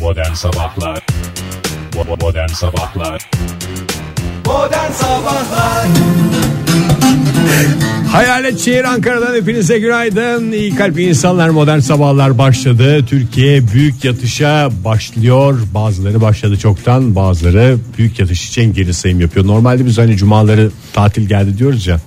Modern Sabahlar Bo- Modern Sabahlar Modern Sabahlar Hayalet şehir Ankara'dan hepinize günaydın. İyi kalp insanlar modern sabahlar başladı. Türkiye büyük yatışa başlıyor. Bazıları başladı çoktan bazıları büyük yatış için geri sayım yapıyor. Normalde biz hani cumaları tatil geldi diyoruz ya.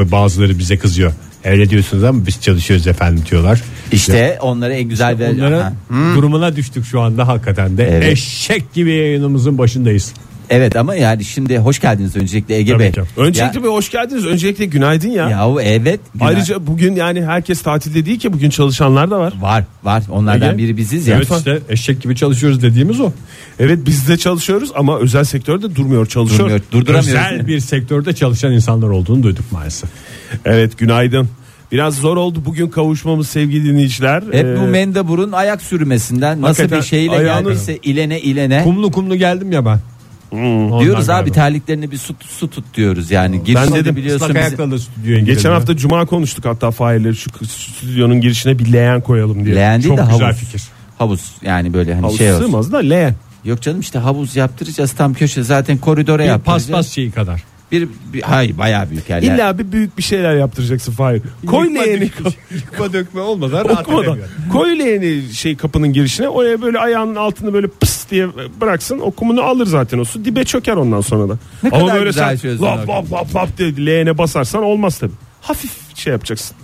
Ve bazıları bize kızıyor. Öyle diyorsunuz ama biz çalışıyoruz efendim diyorlar. İşte onlara en güzel ver- Onların Ha. durumuna düştük şu anda hakikaten de. Evet. Eşek gibi yayınımızın başındayız. Evet ama yani şimdi hoş geldiniz öncelikle Ege Tabii Bey. ki. Öncelikle bir hoş geldiniz. Öncelikle günaydın ya. ya, yahu evet. günah- Ayrıca bugün yani herkes tatilde değil ki bugün çalışanlar da var. var var onlardan Ege? biri biziz ya. Evet işte eşek gibi çalışıyoruz dediğimiz o. Evet biz de çalışıyoruz ama özel sektörde durmuyor çalışıyor. Durmuyor, durduramıyoruz. Özel bir sektörde çalışan insanlar olduğunu duyduk maalesef. Evet günaydın. Biraz zor oldu bugün kavuşmamız sevgili dinleyiciler. Hep Ee, bu mendeburun ayak sürmesinden nasıl hakikaten bir şeyle ayağını- geldiyse ilene ilene Kumlu kumlu geldim ya ben. Hmm, diyoruz abi terliklerini bir su, su tut diyoruz yani. Girişte dedim, de ıslak biliyorsun Islak bizi- ayakla da stüdyoya girelim. Geçen hafta cuma konuştuk hatta failleri şu stüdyonun girişine bir leğen koyalım diye. leğen değil Çok de güzel havuz. fikir. Havuz yani böyle hani Havuz şey olsun. sığmaz da leğen. Yok canım işte havuz yaptıracağız tam köşe zaten koridora bir yaptıracağız. paspas şeyi kadar. Bir, bir hayır bayağı büyük yerler. İlla bir büyük bir şeyler yaptıracaksın Fahir. Koy Yıkma leğeni. dökme- Yıkma dökme olmadan rahat Okumadan. edemiyorum. Koy leğeni şey kapının girişine. Oraya böyle ayağının altını böyle pıs diye bıraksın. O kumunu alır zaten o su. Dibe çöker ondan sonra da. Ne kadar güzel çözdün lap o lap lap lap diye leğene basarsan olmaz tabii. Hafif şey yapacaksın.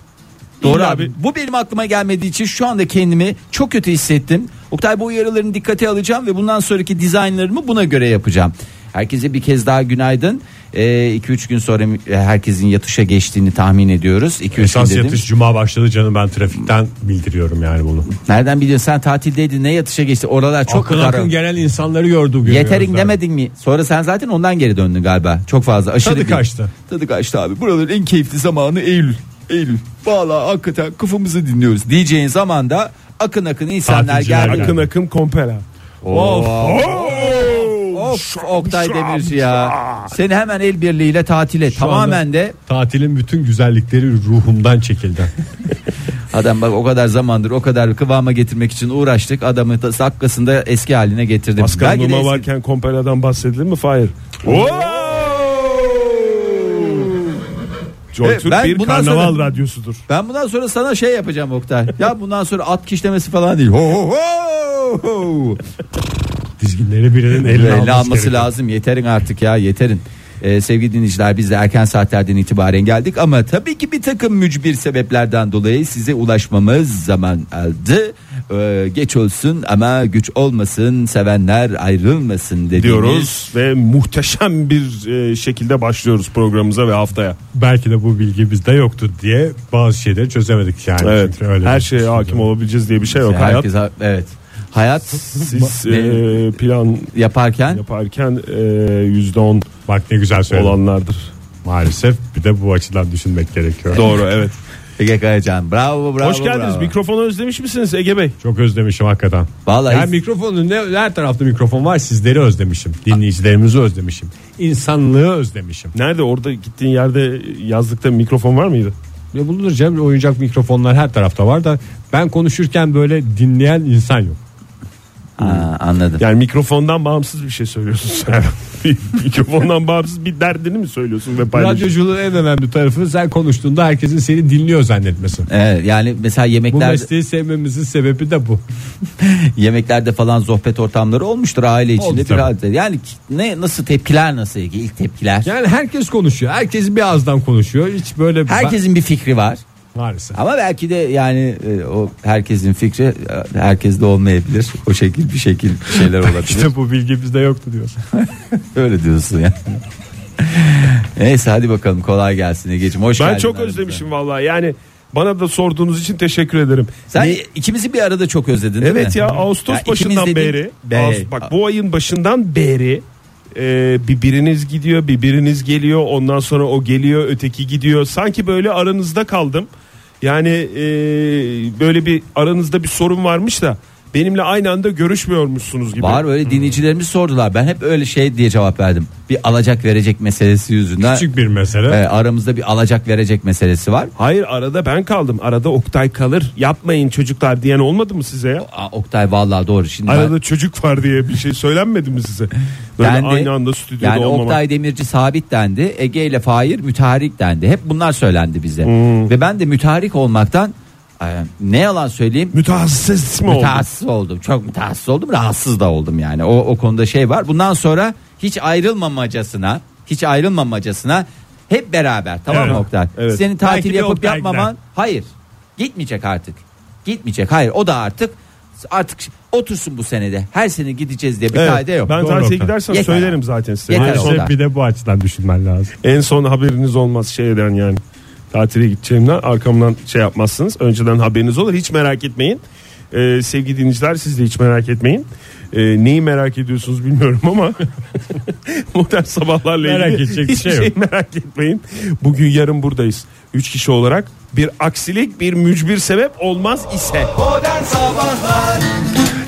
Doğru İlla abi. bir- Bu benim aklıma gelmediği için şu anda kendimi çok kötü hissettim. Oktay bu uyarılarını dikkate alacağım ve bundan sonraki dizaynlarımı buna göre yapacağım. Herkese bir kez daha günaydın. 2-3 gün sonra e, herkesin yatışa geçtiğini tahmin ediyoruz. 2-3 Esas gün dedim. yatış cuma başladı canım ben trafikten bildiriyorum yani bunu. Nereden biliyorsun sen tatildeydin ne yatışa geçti? Oralar çok akın kar- akın gelen insanları gördü. Yeterin demedin mi? Sonra sen zaten ondan geri döndün galiba. Çok fazla aşırı. Tadı bir- kaçtı. Tadı kaçtı abi. Buraların en keyifli zamanı Eylül. Eylül. Valla hakikaten kafamızı dinliyoruz. Diyeceğin zaman da akın akın insanlar Tatilciler geldi. Akın akın kompera. Oo. Oo. Of Oktay şam, Demirci ya. Seni hemen el birliğiyle tatile. Tamamen de Tatilin bütün güzellikleri ruhumdan çekildi. adam bak o kadar zamandır o kadar kıvama getirmek için uğraştık. Adamı da dakikasında eski haline getirdim. Pascal Belki de Numa eski- varken komperadan bahsedilir mi? Fahir. Oo. Joy Evet, Türk ben bir bundan karnaval sonra- radyosudur. Ben bundan sonra sana şey yapacağım Oktay. ya bundan sonra at kişlemesi falan değil. Ho, ho, ho, ho. Dizginleri birinin eline Böyle alması gerekiyor. lazım. Yeterin artık ya yeterin. Ee, sevgili dinleyiciler biz de erken saatlerden itibaren geldik ama tabii ki bir takım mücbir sebeplerden dolayı size ulaşmamız zaman aldı. Ee, geç olsun ama güç olmasın sevenler ayrılmasın dediğimiz. diyoruz ve muhteşem bir e, şekilde başlıyoruz programımıza ve haftaya. Belki de bu bilgi bizde yoktu diye bazı şeyleri çözemedik yani. Evet. Çünkü öyle her şey bir- şey şeye hakim olabileceğiz diye bir şey yok. Hayat Herkes, Ee, evet. Hayat siz Ne? e, plan yaparken yaparken e, yüzde on Bak ne güzel söyledin. olanlardır. Maalesef bir de bu açıdan düşünmek gerekiyor. Doğru evet. Ege Kayacan bravo bravo. Hoş geldiniz. bravo. Mikrofonu özlemiş misiniz Ege Bey? Çok özlemişim hakikaten. Vallahi yani mikrofonun ne, her tarafta mikrofon var sizleri özlemişim. Dinleyicilerimizi özlemişim. İnsanlığı özlemişim. Nerede orada gittiğin yerde yazlıkta mikrofon var mıydı? Ve bulunur Cem oyuncak mikrofonlar her tarafta var da ben konuşurken böyle dinleyen insan yok. Aa, anladım. Yani mikrofondan bağımsız bir şey söylüyorsun sen. Bir mikrofondan bağımsız bir derdini mi söylüyorsun ve paylaşıyorsun? Radyoculuğun en önemli tarafı sen konuştuğunda herkesin seni dinliyor zannetmesi. Evet, yani mesela Bu yemeklerde mesleği sevmemizin sebebi de bu. yemeklerde falan sohbet ortamları olmuştur aile Oldu içinde bir tabii. halde. Yani ki- ne nasıl tepkiler nasıl Ege? ilk tepkiler. Yani herkes konuşuyor. Herkes bir ağızdan konuşuyor. Hiç böyle Herkesin bir fikri var Ben- maalesef. ama belki de yani e, o herkesin fikri e, herkes de olmayabilir. O şekil bir şekil bir şeyler olabilir. İşte bu bilgi bizde yoktu diyorsun. Öyle diyorsun ya. Neyse hadi bakalım kolay gelsin Ege'ciğim. Hoş Ben geldin çok aramıza. özlemişim vallahi. Yani bana da sorduğunuz için teşekkür ederim. Sen ikimizi bir arada çok özledin değil mi? Evet ya Ağustos Ya ikimiz başından dediğin- beri. Bey. Ağustos- bak bu ayın başından beri e, bir biriniz gidiyor, bir biriniz geliyor. Ondan sonra o geliyor, öteki gidiyor. Sanki böyle aranızda kaldım. Yani e, böyle bir aranızda bir sorun varmış da benimle aynı anda görüşmüyormuşsunuz gibi. Hmm. Var öyle dinleyicilerimiz sordular. Ben hep öyle şey diye cevap verdim. Bir alacak verecek meselesi yüzünden. Küçük bir mesele. e, aramızda bir alacak verecek meselesi var. Hayır arada ben kaldım. Arada Oktay kalır. Yapmayın çocuklar diyen olmadı mı size ya? Aa, Oktay vallahi doğru. Şimdi ben- Arada çocuk var diye bir şey söylenmedi mi size? Böyle dendi. aynı anda stüdyoda yani olmamak. Oktay Demirci sabit dendi. Ege ile Fahir müteharik dendi. Hep bunlar söylendi bize. Hmm. Ve ben de müteharik olmaktan e, ne yalan söyleyeyim Mütehassıs mı oldu? mütehassıs oldum. Çok mütehassıs oldum. Rahatsız da oldum yani. O, o konuda şey var. Bundan sonra hiç ayrılmamacasına hiç ayrılmamacasına hep beraber tamam mı Evet. Oktay? Evet. Senin Belki tatil de yapıp Oktay yapmaman hayır. Gitmeyecek artık. Gitmeyecek. Hayır o da artık artık otursun bu senede. Her sene gideceğiz diye bir Evet, kaide yok. Ben Doğru tatile Oktay. gidersem Yeter. söylerim zaten size. Yeter. En son, Maalesef şey bir de bu açıdan düşünmen lazım. en son haberiniz olmaz şeyden yani. Tatile gideceğimden arkamdan şey yapmazsınız. Önceden haberiniz olur. Hiç merak etmeyin. Ee, sevgili dinleyiciler siz de hiç merak etmeyin. Ee, neyi merak ediyorsunuz bilmiyorum ama modern sabahlarla ilgili Merak edecek bir hiçbir şey yok. şey merak etmeyin. Bugün yarın buradayız. Üç kişi olarak bir aksilik bir mücbir sebep olmaz ise.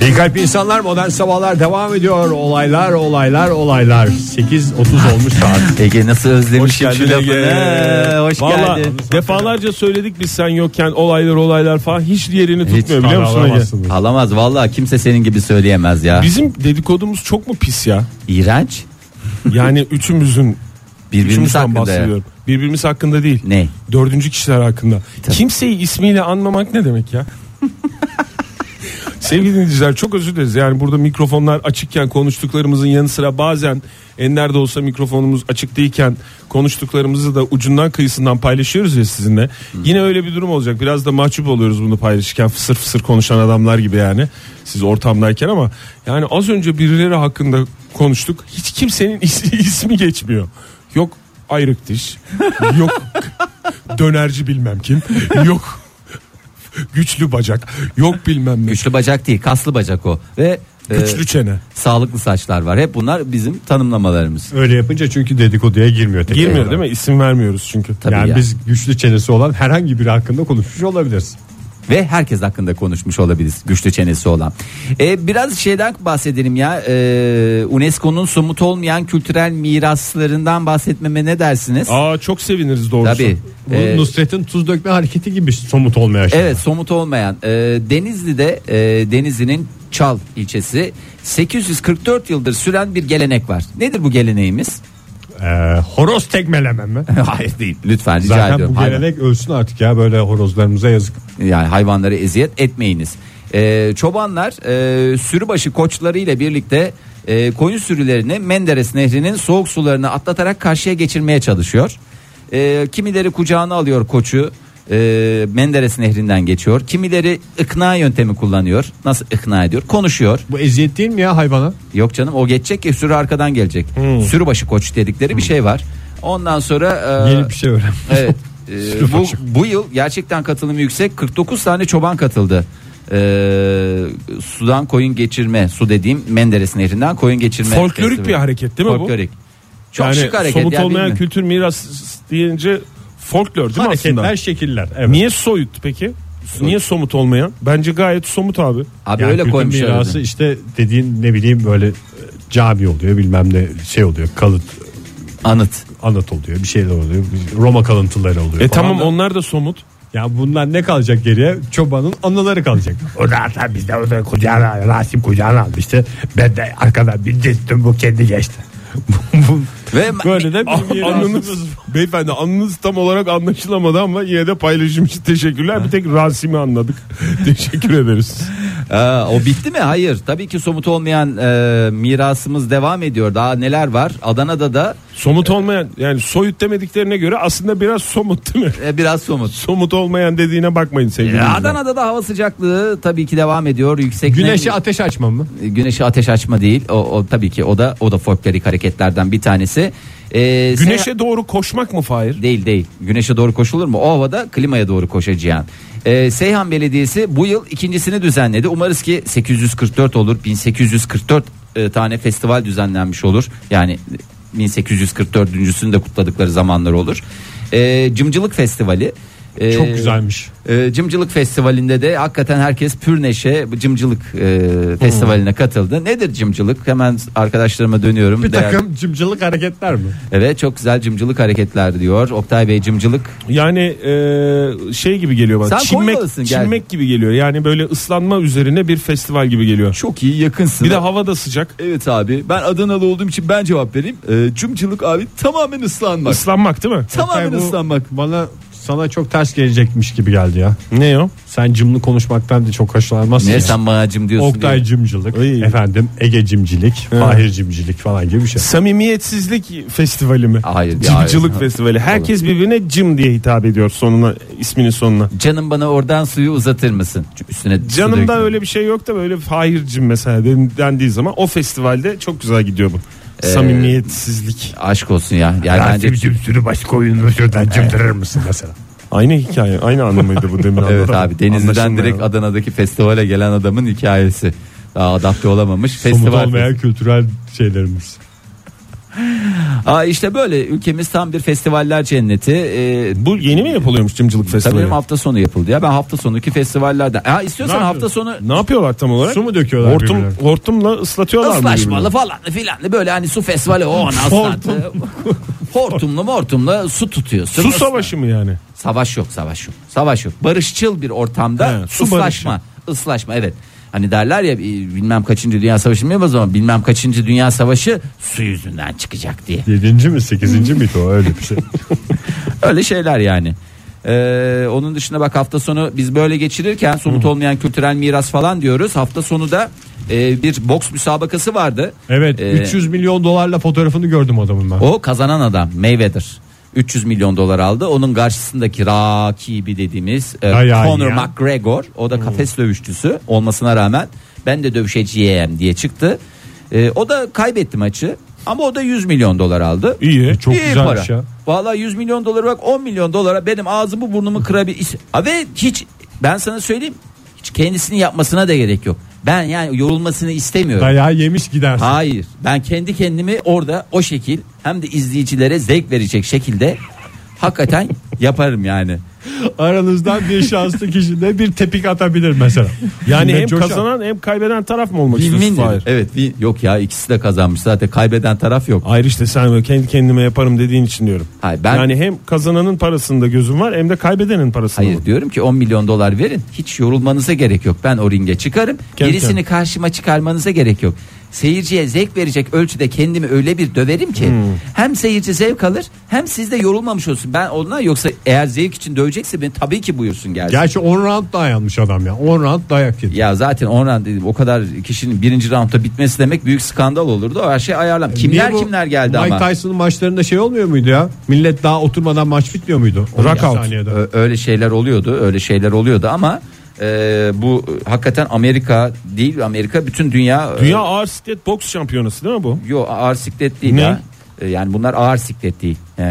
İyi kalp insanlar modern sabahlar devam ediyor. Olaylar olaylar olaylar. 8.30 olmuş saat. Ege nasıl özlemişim şu lafını. Ee, Hoş Vallahi geldin. defalarca söyledik biz sen yokken olaylar olaylar falan hiç diğerini tutmuyor biliyor musun? Ege? Alamazsınız. Alamaz vallahi kimse senin gibi söyleyemez ya. Bizim dedikodumuz çok mu pis ya? İğrenç. Yani üçümüzün Birbirimiz üçümüzden hakkında. ya. bahsediyorum. Birbirimiz hakkında değil. Ne? Dördüncü kişiler hakkında. Kimseyi ismiyle anmamak ne demek ya? Sevgili dinleyiciler çok özür dileriz. Yani burada mikrofonlar açıkken konuştuklarımızın yanı sıra bazen enlerde olsa mikrofonumuz açık değilken konuştuklarımızı da ucundan kıyısından paylaşıyoruz ya sizinle. Yine öyle bir durum olacak. Biraz da mahcup oluyoruz bunu paylaşırken fısır fısır konuşan adamlar gibi yani. Siz ortamdayken ama yani az önce birileri hakkında konuştuk. Hiç kimsenin is- ismi geçmiyor. Yok ayrık diş. Yok dönerci bilmem kim. Yok güçlü bacak. Yok bilmem ne. Güçlü bacak değil kaslı bacak o. Ve e, Güçlü çene. sağlıklı saçlar var. Hep bunlar bizim tanımlamalarımız. Öyle yapınca çünkü dedikoduya girmiyor. tekrar. Girmiyor değil mi? İsim vermiyoruz çünkü. Tabii yani ya. biz güçlü çenesi olan herhangi biri hakkında konuşmuş olabiliriz. Ve herkes hakkında konuşmuş olabiliriz güçlü çenesi olan. E, biraz şeyden bahsedelim ya. E, UNESCO'nun somut olmayan kültürel miraslarından bahsetmeme ne dersiniz? Aa çok seviniriz doğrusu. Tabii. Bu E, Nusret'in tuz dökme hareketi gibi somut olmayan şey. Evet somut olmayan e, Denizli'de e, Denizli'nin Çal ilçesi 844 yıldır süren bir gelenek var. Nedir bu geleneğimiz? Ee, horoz tekmeleme mi? Hayır değil. Lütfen rica Zaten ediyorum. bu gelenek ölsün artık ya böyle horozlarımıza yazık. Hayvan- yani hayvanlara eziyet etmeyiniz. E, çobanlar e, sürübaşı koçlarıyla birlikte e, koyun sürülerini Menderes Nehri'nin soğuk sularını atlatarak karşıya geçirmeye çalışıyor. E, kimileri kucağına alıyor koçu. e, Menderes Nehri'nden geçiyor. Kimileri ikna yöntemi kullanıyor. Nasıl ikna ediyor? Konuşuyor. Bu eziyet değil mi ya hayvana? Yok canım o geçecek ki sürü arkadan gelecek. Sürübaşı koç dedikleri bir şey var. Ondan sonra e, Yeni bir şey öğren. evet e, bu, Sürübaşı. bu yıl gerçekten katılımı yüksek 49 tane çoban katıldı. E, sudan koyun geçirme su dediğim Menderes Nehri'nden koyun geçirme. Folklorik festivali. bir hareket değil mi bu? Folklorik. Çok yani şık hareket. somut ya, olmayan bilmiyorum. kültür miras deyince folklor değil mi aslında? Hareketler şekiller. Evet. Niye soyut peki? Niye somut olmayan? Bence gayet somut abi. Abi Yani öyle kültür koymuşlar. mirası adını. işte dediğin ne bileyim böyle e, cami oluyor bilmem ne şey oluyor kalıt Anıt. anıt oluyor bir şeyler oluyor Roma kalıntıları oluyor. falan E tamam da. onlar da somut. Ya bunlar ne kalacak geriye? Çobanın anıları kalacak. O zaten bizde o da kucağına Rasim kucağına almıştı. Ben de arkadan bir cistim bu kendi geçti. Ve Böyle de bir mirasımız. Anınız, beyefendi anınız tam olarak anlaşılamadı ama yine de paylaşım için teşekkürler. Bir tek Rasim'i anladık. Teşekkür ederiz. Ee, o bitti mi? Hayır. Tabii ki somut olmayan e, mirasımız devam ediyor. Daha neler var? Adana'da da Somut olmayan yani soyut demediklerine göre aslında biraz somut değil mi? e, biraz somut. Somut olmayan dediğine bakmayın sevgili Ya dinleyiciler. Adana'da da hava sıcaklığı tabii ki devam ediyor. Yüksek Güneşe nem- ateş açma mı? güneşe ateş açma değil. O, o tabii ki o da o da folklorik hareketlerden bir tanesi. Ee, Güneşe seyahat- doğru koşmak mı Fahir? değil değil. Güneşe doğru koşulur mu? O havada klimaya doğru koşacağın. Ee, Seyhan Belediyesi bu yıl ikincisini düzenledi. Umarız ki 844 olur. 1844 e, tane festival düzenlenmiş olur. Yani 1844.sünü de kutladıkları zamanlar olur. Ee, Cımcılık Festivali Ee, Çok güzelmiş. e, Cımcılık Festivali'nde de hakikaten herkes pür neşe bu Cımcılık e, Festivali'ne katıldı. Nedir cımcılık? Hemen arkadaşlarıma dönüyorum. Bir Değerli- takım cimcilik hareketler mi? Evet çok güzel cımcılık hareketler diyor. Oktay Bey cımcılık Yani e, şey gibi geliyor bana. Sen çinmek, Konyalısın, gel. çinmek gibi geliyor. Yani böyle ıslanma üzerine bir festival gibi geliyor. çok iyi yakınsın. Bir de hava da sıcak. Evet abi ben Adanalı olduğum için ben cevap vereyim. Ee, cımcılık abi tamamen ıslanmak. Islanmak değil mi? tamamen Oktay, bu- ıslanmak. Bana sana çok ters gelecekmiş gibi geldi ya. Ne o? Sen cımlı konuşmaktan da çok hoşlanmazsın. Niye ya. sen bana cım diyorsun? Oktay diye. cimcilik, efendim Ege cimcilik, Fahir cimcilik falan gibi bir şey. Samimiyetsizlik festivali mi? Hayır, ya, Cimcilik hayır. festivali. Herkes birbirine cim diye hitap ediyor sonuna isminin sonuna. Canım bana oradan suyu uzatır mısın? Çünkü Üstüne su Canımda döktüm. öyle bir şey yok da böyle hayır cim mesela den- dendiği zaman o festivalde çok güzel gidiyor bu. Ee, Samimiyetsizlik. Aşk olsun ya. Yani bence Rasim'cim sürü başka oyununu şuradan cımdırır mısın mesela? Aynı hikaye, aynı anlamıydı bu demin Evet anladım. abi Denizli'den Anlaşılmayan. direkt Adana'daki festivale gelen adamın hikayesi. Daha adapte olamamış. Somut Festival. olmayan kültürel şeylerimiz. Aa işte böyle ülkemiz tam bir festivaller cenneti. Ee, Bu yeni mi yapılıyormuş cimcilik tabii festivali? benim hafta sonu yapıldı ya. Ben hafta sonuki festivallerden. Ha istiyorsan Ne hafta sonu Ne yapıyorlar tam olarak? Su mu döküyorlar Hortum, birbirlerine? hortumla ıslatıyorlar mı? ıslaşmalı birbirini? falan filan böyle hani su festivali o ona ıslattı. Hortumlu mortumlu su tutuyorsun. Su savaşı mı yani? Savaş yok savaş yok. Savaş yok. Barışçıl bir ortamda He, su ıslaşma. ıslaşma evet. Hani derler ya e, bilmem kaçıncı dünya savaşı mı o zaman bilmem kaçıncı dünya savaşı su yüzünden çıkacak diye. Yedinci mi sekizinci miydi o öyle bir şey. Öyle şeyler yani. Ee, onun dışında bak hafta sonu biz böyle geçirirken somut olmayan kültürel miras falan diyoruz. Hafta sonu da e, bir boks müsabakası vardı. Evet Ee, 300 milyon dolarla fotoğrafını gördüm adamın ben. O kazanan adam Mayweather. 300 milyon dolar aldı. Onun karşısındaki rakibi dediğimiz e, Ayağı Conor yiyen. McGregor. O da kafes dövüşçüsü olmasına rağmen ben de dövüşeceğim diye çıktı. E, o da kaybetti maçı. Ama o da 100 milyon dolar aldı. İyi, çok güzelmiş ya. Valla 100 milyon dolara bak 10 milyon dolara benim ağzımı burnumu kırabilir. Ha, Ve hiç ben sana söyleyeyim hiç kendisini yapmasına da gerek yok. Ben yani yorulmasını istemiyorum. Dayağı yemiş gidersin. Hayır. Ben kendi kendimi orada o şekil hem de izleyicilere zevk verecek şekilde hakikaten yaparım yani. Aranızdan bir şanslı kişi de bir tepik atabilir mesela. Yani Yine hem coşar. kazanan hem kaybeden taraf mı olmak Win-win istiyorsun? dedim. Hayır. Evet, win- yok ya ikisi de kazanmış. Zaten kaybeden taraf yok. Hayır işte sen böyle kendi kendime yaparım dediğin için diyorum. Hayır, ben- Yani hem kazananın parasında gözüm var hem de kaybedenin parasında. Hayır mı? diyorum ki 10 milyon dolar verin. Hiç yorulmanıza gerek yok. Ben o ringe çıkarım. Kendi Gerisini kendine. karşıma çıkarmanıza gerek yok. Seyirciye zevk verecek ölçüde kendimi öyle bir döverim ki Hmm. hem seyirci zevk alır hem siz de yorulmamış olsun. Ben ondan yoksa eğer zevk için dövecekse beni tabii ki buyursun gelsin. Gerçi 10 round dayanmış adam ya. 10 round dayak yedi. Ya zaten o round dedim o kadar kişinin birinci roundda bitmesi demek büyük skandal olurdu. O her şey ayarlam. Kimler E, Niye bu kimler geldi Mike ama. Tyson'ın maçlarında şey olmuyor muydu ya? Millet daha oturmadan maç bitmiyor muydu? 12 Knockout. saniyede. Ö- Öyle şeyler oluyordu. Öyle şeyler oluyordu ama e, bu e, hakikaten Amerika değil Amerika bütün dünya. e, Dünya ağır siklet boks şampiyonası değil mi bu? yo ağır siklet değil Ne? ya. E, Yani bunlar ağır siklet değil. E,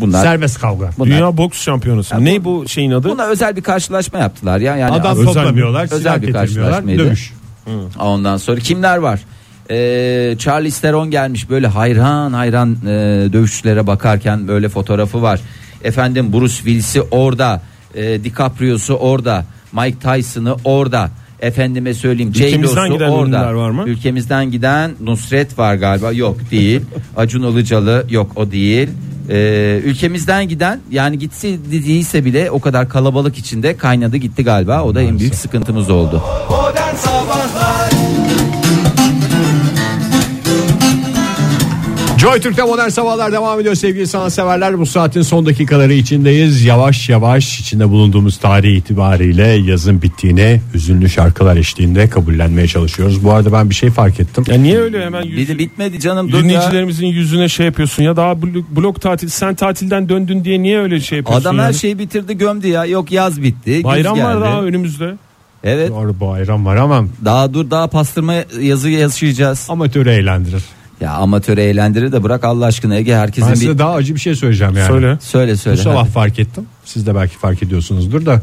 bunlar Serbest kavga. bunlar, Dünya boks şampiyonası. Ya ne bu- bu şeyin adı? buna özel bir karşılaşma yaptılar ya. Yani Adam aslında- toplamıyorlar, özel silah bir getirmiyorlar, karşılaşmaydı. dövüş. Ondan sonra kimler var? Ee, Charlie Steron gelmiş böyle hayran hayran e, dövüşçülere bakarken böyle fotoğrafı var. Efendim Bruce Willis'i orada, e, DiCaprio'su orada, Mike Tyson'ı orada. Efendime söyleyeyim Jay Ülkemizden Loz'u giden orada. ünlüler var mı? Ülkemizden giden Nusret var galiba. Yok değil. Acun Ilıcalı yok o değil. Ee, ülkemizden giden yani gitse değilse bile o kadar kalabalık içinde kaynadı gitti galiba. O da en büyük sıkıntımız oldu. Joy Türk'te modern sabahlar devam ediyor sevgili sanatseverler. Bu saatin son dakikaları içindeyiz. Yavaş yavaş içinde bulunduğumuz tarih itibariyle yazın bittiğini hüzünlü şarkılar eşliğinde kabullenmeye çalışıyoruz. Bu arada ben bir şey fark ettim. Ya niye öyle hemen Bir yüzü, de bitmedi canım dur ya. dinleyicilerimizin yüzüne şey yapıyorsun ya daha blok, blok tatil sen tatilden döndün diye niye öyle şey yapıyorsun? Adam her yani? şeyi bitirdi gömdü ya. Yok yaz bitti. güz Bayram var geldi. daha önümüzde. Evet. Doğru bayram var ama Daha dur daha pastırma yazı yaşayacağız. amatörü eğlendirir. Ya amatörü eğlendirir de bırak Allah aşkına Ege herkesin Ben bir... size daha acı bir şey söyleyeceğim yani. Söyle. Söyle Bu söyle. sabah hadi. fark ettim. Siz de belki fark ediyorsunuzdur da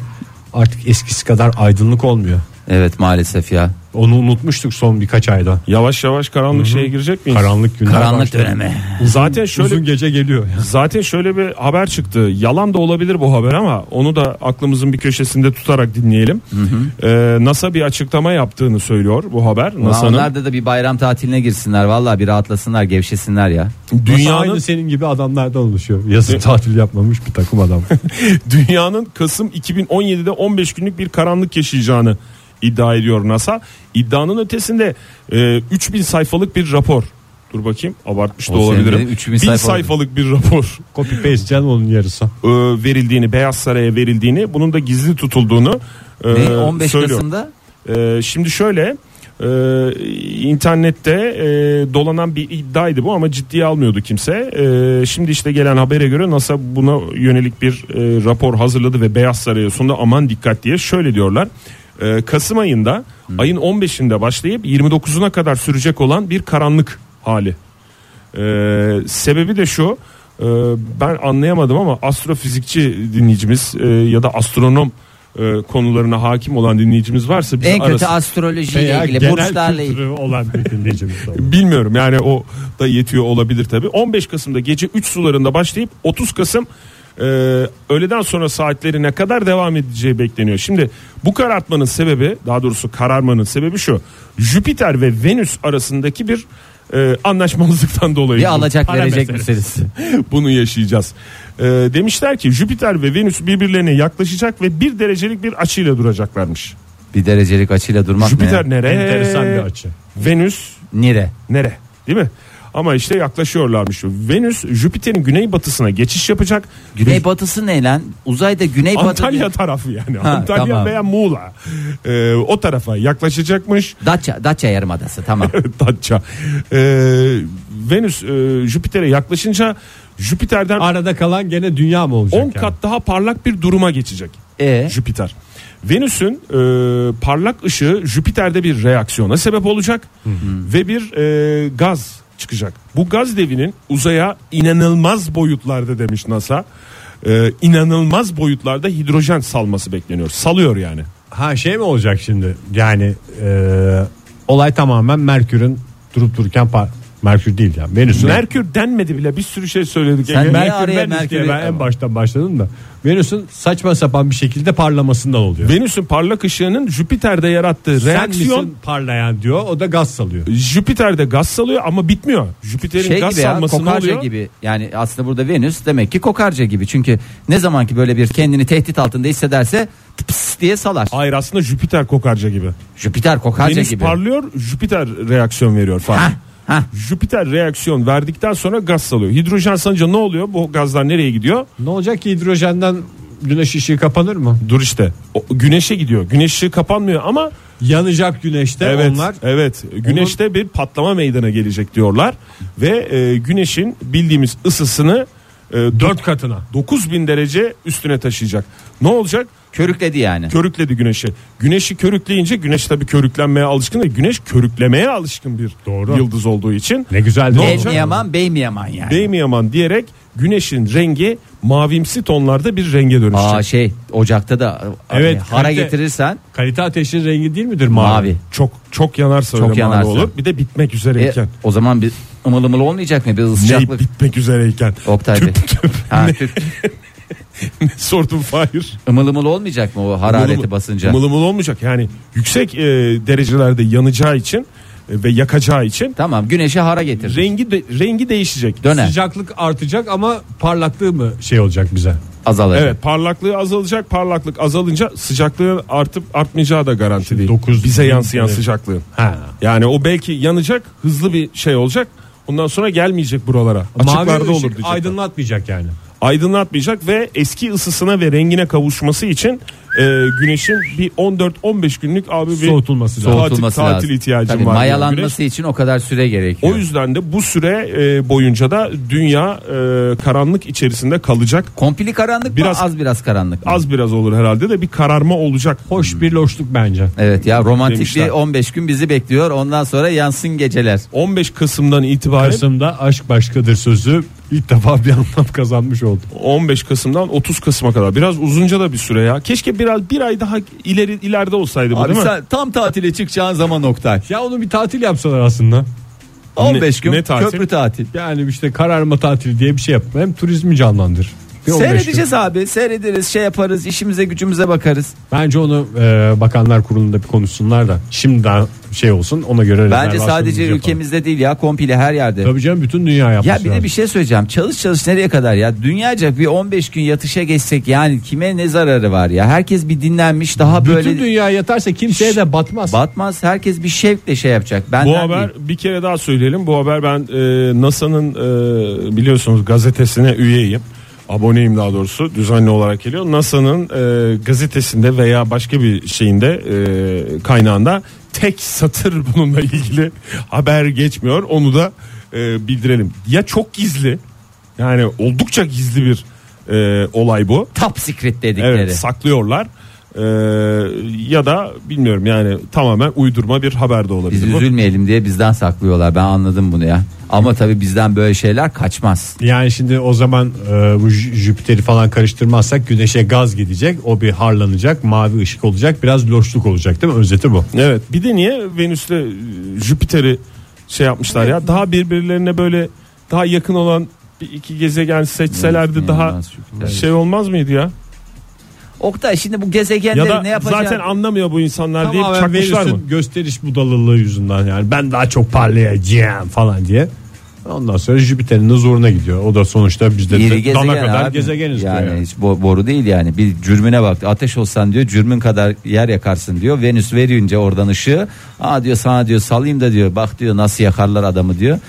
artık eskisi kadar aydınlık olmuyor. Evet maalesef ya. Onu unutmuştuk son birkaç ayda. Yavaş yavaş karanlık şeye girecek miyiz? Karanlık günler. Karanlık başladı. döneme. Zaten şöyle Uzun gece geliyor. zaten şöyle bir haber çıktı. Yalan da olabilir bu haber ama onu da aklımızın bir köşesinde tutarak dinleyelim. Ee, NASA bir açıklama yaptığını söylüyor bu haber. Ulan NASA'nın Onlar da da bir bayram tatiline girsinler. Vallahi bir rahatlasınlar, gevşesinler ya. Dünya dünyanın aynı senin gibi adamlardan oluşuyor. Yazın tatil yapmamış bir takım adam. dünyanın Kasım 2017'de 15 günlük bir karanlık yaşayacağını iddia ediyor NASA. İddianın ötesinde e, 3000 sayfalık bir rapor. Dur bakayım abartmış da O senin olabilirim. dediğin 3000 3000 sayfalık. sayfalık bir rapor Copy paste canım onun yarısı. e, verildiğini Beyaz Saray'a verildiğini bunun da gizli tutulduğunu e, Ne? 15 söylüyor. Kasım'da E, şimdi şöyle e, internette e, dolanan bir iddiaydı bu ama ciddiye almıyordu kimse. E, şimdi işte gelen habere göre NASA buna yönelik bir e, rapor hazırladı ve Beyaz Saray'a sundu. Aman dikkat diye şöyle diyorlar. E, Kasım ayında ayın 15'inde başlayıp 29'una kadar sürecek olan bir karanlık hali. E, sebebi de şu. e, ben anlayamadım ama astrofizikçi dinleyicimiz e, ya da astronom e, konularına hakim olan dinleyicimiz varsa bizi en kötü arasın. astrolojiyle ilgili, burçlarla ilgili. olan bir dinleyicimiz oldu. Bilmiyorum yani o da yetiyor olabilir tabi. 15 Kasım'da gece 3 sularında başlayıp 30 Kasım e, öğleden sonra saatlerine kadar devam edeceği bekleniyor. Şimdi bu karartmanın sebebi daha doğrusu kararmanın sebebi şu. Jüpiter ve Venüs arasındaki bir e, anlaşmazlıktan dolayı. Bir alacak Para verecek meselesi. misiniz? Bunu yaşayacağız. E, demişler ki Jüpiter ve Venüs birbirlerine yaklaşacak ve bir derecelik bir açıyla duracaklarmış. Bir derecelik açıyla durmak Jüpiter ne? nereye? Enteresan bir açı. Venüs Nire. Nere? Değil mi? Ama işte yaklaşıyorlarmış. Venüs Jüpiter'in güneybatısına geçiş yapacak. Güneybatısı ne lan? Uzayda güneybatı. Antalya tarafı yani. Ha, Antalya tamam. veya Muğla. Ee, o tarafa yaklaşacakmış. Datça, Datça Yarımadası tamam. Datça. Ee, Venüs e, Jüpiter'e yaklaşınca Jüpiter'den Arada kalan gene dünya mı 10 olacak? yani? kat daha parlak bir duruma geçecek. E? Jüpiter. Venüs'ün e, parlak ışığı Jüpiter'de bir reaksiyona sebep olacak ve bir e, gaz çıkacak. Bu gaz devinin uzaya inanılmaz boyutlarda demiş NASA. E, inanılmaz boyutlarda hidrojen salması bekleniyor. Salıyor yani. Ha şey mi olacak şimdi? Yani e, olay tamamen Merkür'ün durup dururken par- Merkür değil yani Venüs'ün. Merkür denmedi bile bir sürü şey söyledik. Sen Ege. niye Merkür, araya Venüs diye Merkür'ü- ben- ben en baştan başladım da Venüs'ün saçma sapan bir şekilde parlamasından oluyor. Venüs'ün parlak ışığının Jüpiter'de yarattığı Sen reaksiyon misin parlayan diyor o da gaz salıyor. Jüpiter'de gaz salıyor ama bitmiyor. Jüpiter'in Şey gaz gibi ya salması ne kokarca oluyor? gibi yani aslında burada Venüs demek ki kokarca gibi çünkü ne zaman ki böyle bir kendini tehdit altında hissederse pıs diye salar. Hayır aslında Jüpiter kokarca gibi. Jüpiter kokarca Venüs gibi. parlıyor, Jüpiter reaksiyon veriyor falan. Hah, hah. Jüpiter reaksiyon verdikten sonra gaz salıyor. Hidrojen salınca ne oluyor? Bu gazlar nereye gidiyor? Ne olacak ki hidrojenden güneş ışığı kapanır mı? Dur işte. O, güneşe gidiyor. Güneş ışığı kapanmıyor ama Yanacak güneşte evet, onlar. evet. Güneşte bir patlama meydana gelecek diyorlar ve e, güneşin bildiğimiz ısısını e, 4 katına. 9000 derece üstüne taşıyacak. Ne olacak? Körükledi yani. körükledi güneşi. Güneşi körükleyince güneş tabii körüklenmeye alışkın ve güneş körüklemeye alışkın bir Doğru. yıldız olduğu için. Ne güzel de Ev olacak. mi yaman bey mi yaman yani. Bey mi yaman diyerek güneşin rengi mavimsi tonlarda bir renge dönüşecek. Aa şey ocakta da Evet, evet, hara kalite- getirirsen Kalite ateşin rengi değil midir mavi? mavi. Çok çok yanarsa Çok öyle mavi yanarsa. olur. Bir de bitmek E, üzereyken. o zaman bir ımıl ımıl olmayacak mı? Bir Ne ısıcaklık. bitmek üzereyken. Oktay Bey. Tüp tüp Ha, Türk- sordum Fahir. ımıl ımıl olmayacak mı o harareti Mılımıl- basınca? mılımıl olmayacak yani yüksek e, derecelerde yanacağı için e, ve yakacağı için Tamam güneşe hara getir. rengi de, rengi değişecek. Döner Sıcaklık artacak ama parlaklığı mı şey olacak bize? azalır. Evet parlaklığı azalacak parlaklık azalınca sıcaklığın artıp artmayacağı da garanti değil. dokuz Bize bin- yansıyan evet. sıcaklığın. Ha. Yani o belki yanacak hızlı bir şey olacak. Ondan sonra gelmeyecek buralara. Mavi Açıklarda ışık olur diyecekler. aydınlatmayacak yani. Aydınlatmayacak ve eski ısısına ve rengine kavuşması için e, güneşin bir 14-15 günlük abi bir Soğutulması lazım. tatil, Soğutulması tatil lazım. ihtiyacım Tabii, var. diyor Mayalanması güneş. için o kadar süre gerekiyor. O yüzden de bu süre e, boyunca da dünya e, karanlık içerisinde kalacak. Kompli karanlık Biraz- mı az biraz karanlık mı? Az biraz olur herhalde de bir kararma olacak. Hoş bir loşluk bence. Evet ya romantik Demişler. bir 15 gün bizi bekliyor. Ondan sonra yansın geceler. 15 Kasım'dan itibaren Kasım'da aşk başkadır sözü İlk defa bir anlam kazanmış oldu. 15 Kasım'dan 30 Kasım'a kadar. Biraz uzunca da bir süre ya. Keşke biraz bir ay daha ileri ileride olsaydı bu Abi değil mi? sen tam tatile çıkacağın zaman Oktay. Ya onu bir tatil yapsalar aslında. 15 gün ne tatil? köprü tatil. Yani işte kararma tatili diye bir şey yap. Hem turizmi canlandır. Bir 15 gün. Seyredeceğiz abi. Seyrederiz, şey yaparız, işimize gücümüze bakarız. Bence onu e, bakanlar kurulunda bir konuşsunlar da şimdiden şey olsun ona göre Bence rezervasyonumuzu sadece yapalım. ülkemizde değil ya, komple her yerde. Tabii canım bütün dünya yapmış. Ya bir de bir şey söyleyeceğim. Çalış çalış nereye kadar ya? Dünyaca bir 15 gün yatışa geçsek yani kime ne zararı var ya? Herkes bir dinlenmiş, daha Bütün böyle dünya yatarsa kimseye de batmaz. batmaz. Herkes bir şevkle şey yapacak. Benden Bu haber değil. bir kere daha söyleyelim. Bu haber ben e, NASA'nın e, biliyorsunuz gazetesine üyeyim. Aboneyim daha doğrusu düzenli olarak geliyor. NASA'nın e, gazetesinde veya başka bir şeyinde e, kaynağında tek satır bununla ilgili haber geçmiyor. Onu da e, bildirelim. Ya çok gizli yani oldukça gizli bir e, olay bu. top secret dedikleri. Evet saklıyorlar. E, ya da bilmiyorum yani tamamen uydurma bir haber de olabilir. Biz bu. üzülmeyelim diye bizden saklıyorlar. Ben anladım bunu ya. Ama tabii bizden böyle şeyler kaçmaz. Yani şimdi o zaman e, bu Jü- Jüpiter'i falan karıştırmazsak güneşe gaz gidecek. O bir harlanacak, mavi ışık olacak, biraz loşluk olacak değil mi? Özeti bu. Evet. Bir de niye Venüs'le e, Jüpiter'i şey yapmışlar ya? Daha birbirlerine böyle daha yakın olan bir iki gezegen seçselerdi Venüs, daha Venüs, Jüpiter. şey olmaz mıydı ya? Oktay şimdi bu Ya gezegenleri ne da yapacağız? zaten anlamıyor bu insanlar deyip Tamamen çakmışlar mı? Venüs'ün gösteriş budalılığı yüzünden yani ben daha çok parlayacağım falan diye. Ondan sonra Jüpiter'in de zoruna gidiyor. O da sonuçta bizde İri de dana gezegen kadar abi. gezegeniz diyor. yani, Yani. hiç bo- boru değil yani bir cürmüne baktı ateş olsan diyor cürmün kadar yer yakarsın diyor Venüs verince oradan ışığı aa diyor sana diyor salayım da diyor bak diyor nasıl yakarlar adamı diyor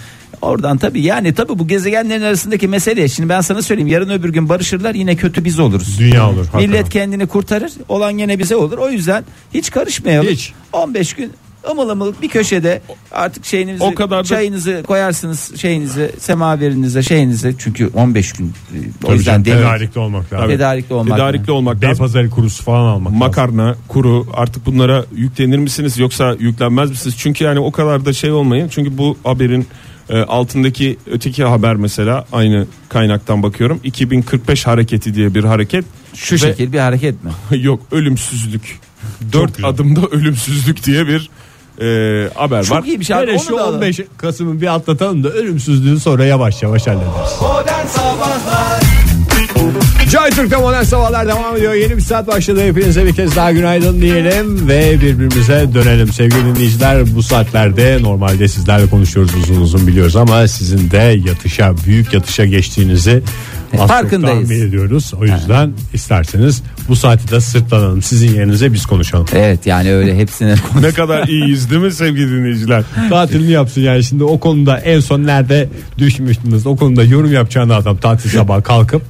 Oradan tabi yani tabi bu gezegenlerin arasındaki mesele şimdi ben sana söyleyeyim yarın öbür gün barışırlar yine kötü biz oluruz. Dünya olur. hakikaten. Millet kendini kurtarır olan yine bize olur o yüzden hiç karışmayalım. Hiç. 15 gün ımıl ımıl bir köşede artık şeyinizi O kadar da- çayınızı koyarsınız şeyinizi semaverinize şeyinizi çünkü 15 gün e, o yüzden Tabii canım, demir tedarikli olmak lazım. tedarikli olmak. Tedarikli olmak Bey lazım. pazarı kurusu falan almak lazım. Makarna, kuru artık bunlara yüklenir misiniz yoksa yüklenmez misiniz? Çünkü yani o kadar da şey olmayın. Çünkü bu haberin e, altındaki öteki haber mesela aynı kaynaktan bakıyorum. 2045 hareketi diye bir hareket. Şu Ve- şekil bir hareket mi? Yok ölümsüzlük. Dört güzel. adımda ölümsüzlük diye bir e, haber var. Çok iyi bir şey. Hele Onu şu da alalım. 15 Kasım'ı bir atlatalım da ölümsüzlüğü sonra yavaş yavaş hallederiz. Joy Türk'te modern sabahlar devam ediyor. Yeni bir saat başladı. Hepinize bir kez daha günaydın diyelim ve birbirimize dönelim. Sevgili dinleyiciler bu saatlerde normalde sizlerle konuşuyoruz uzun uzun biliyoruz ama sizin de yatışa büyük yatışa geçtiğinizi az çok Farkındayız. tahmin ediyoruz. O yüzden isterseniz bu saati de sırtlanalım. Sizin yerinize biz konuşalım. Evet yani öyle hepsine Ne kadar iyiyiz değil mi sevgili dinleyiciler? Tatilini yapsın yani şimdi o konuda en son nerede düşmüştünüz o konuda yorum yapacağını adam tatil sabah kalkıp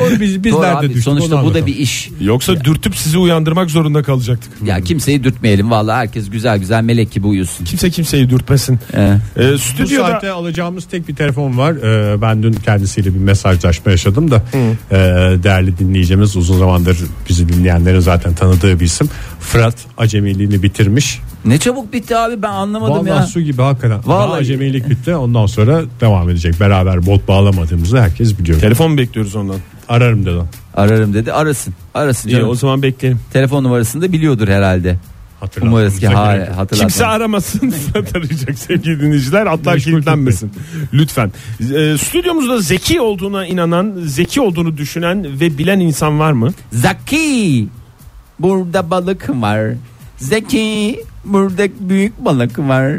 onu biz, biz Doğru nerede abi, düştük sonuçta onu bu da anlatalım. bir iş. Yoksa dürtüp sizi uyandırmak zorunda kalacaktık. Ya kimseyi dürtmeyelim vallahi herkes güzel güzel melek gibi uyusun. Kimse kimseyi dürtmesin. Ee, E, Bu stüdyoda saatte alacağımız tek bir telefon var. Ee, ben dün kendisiyle bir mesajlaşma yaşadım da ee, değerli dinleyicimiz uzun zamandır bizi dinleyenlerin zaten tanıdığı bir isim. Fırat acemiliğini bitirmiş. ne çabuk bitti abi ben anlamadım Vallahi ya. su gibi hakikaten. Vallahi Vallahi- acemilik bitti. Ondan sonra devam edecek. Beraber bot bağlamadığımızı herkes biliyor. telefon bekliyoruz ondan. Ararım dedi. Ararım dedi arasın. Arasın İyi canım. o zaman bekleyelim. Telefon numarasını da biliyordur herhalde. Umarız Hatırlatmamıza ki ha, gerek yok. hatırlatmam. Kimse aramasın Fırat arayacak sevgili dinleyiciler atlar Meşgul kilitlenmesin lütfen Ee, stüdyomuzda zeki olduğuna inanan zeki olduğunu düşünen ve bilen insan var mı? Zaki burada balık var. Zeki burada büyük balık var.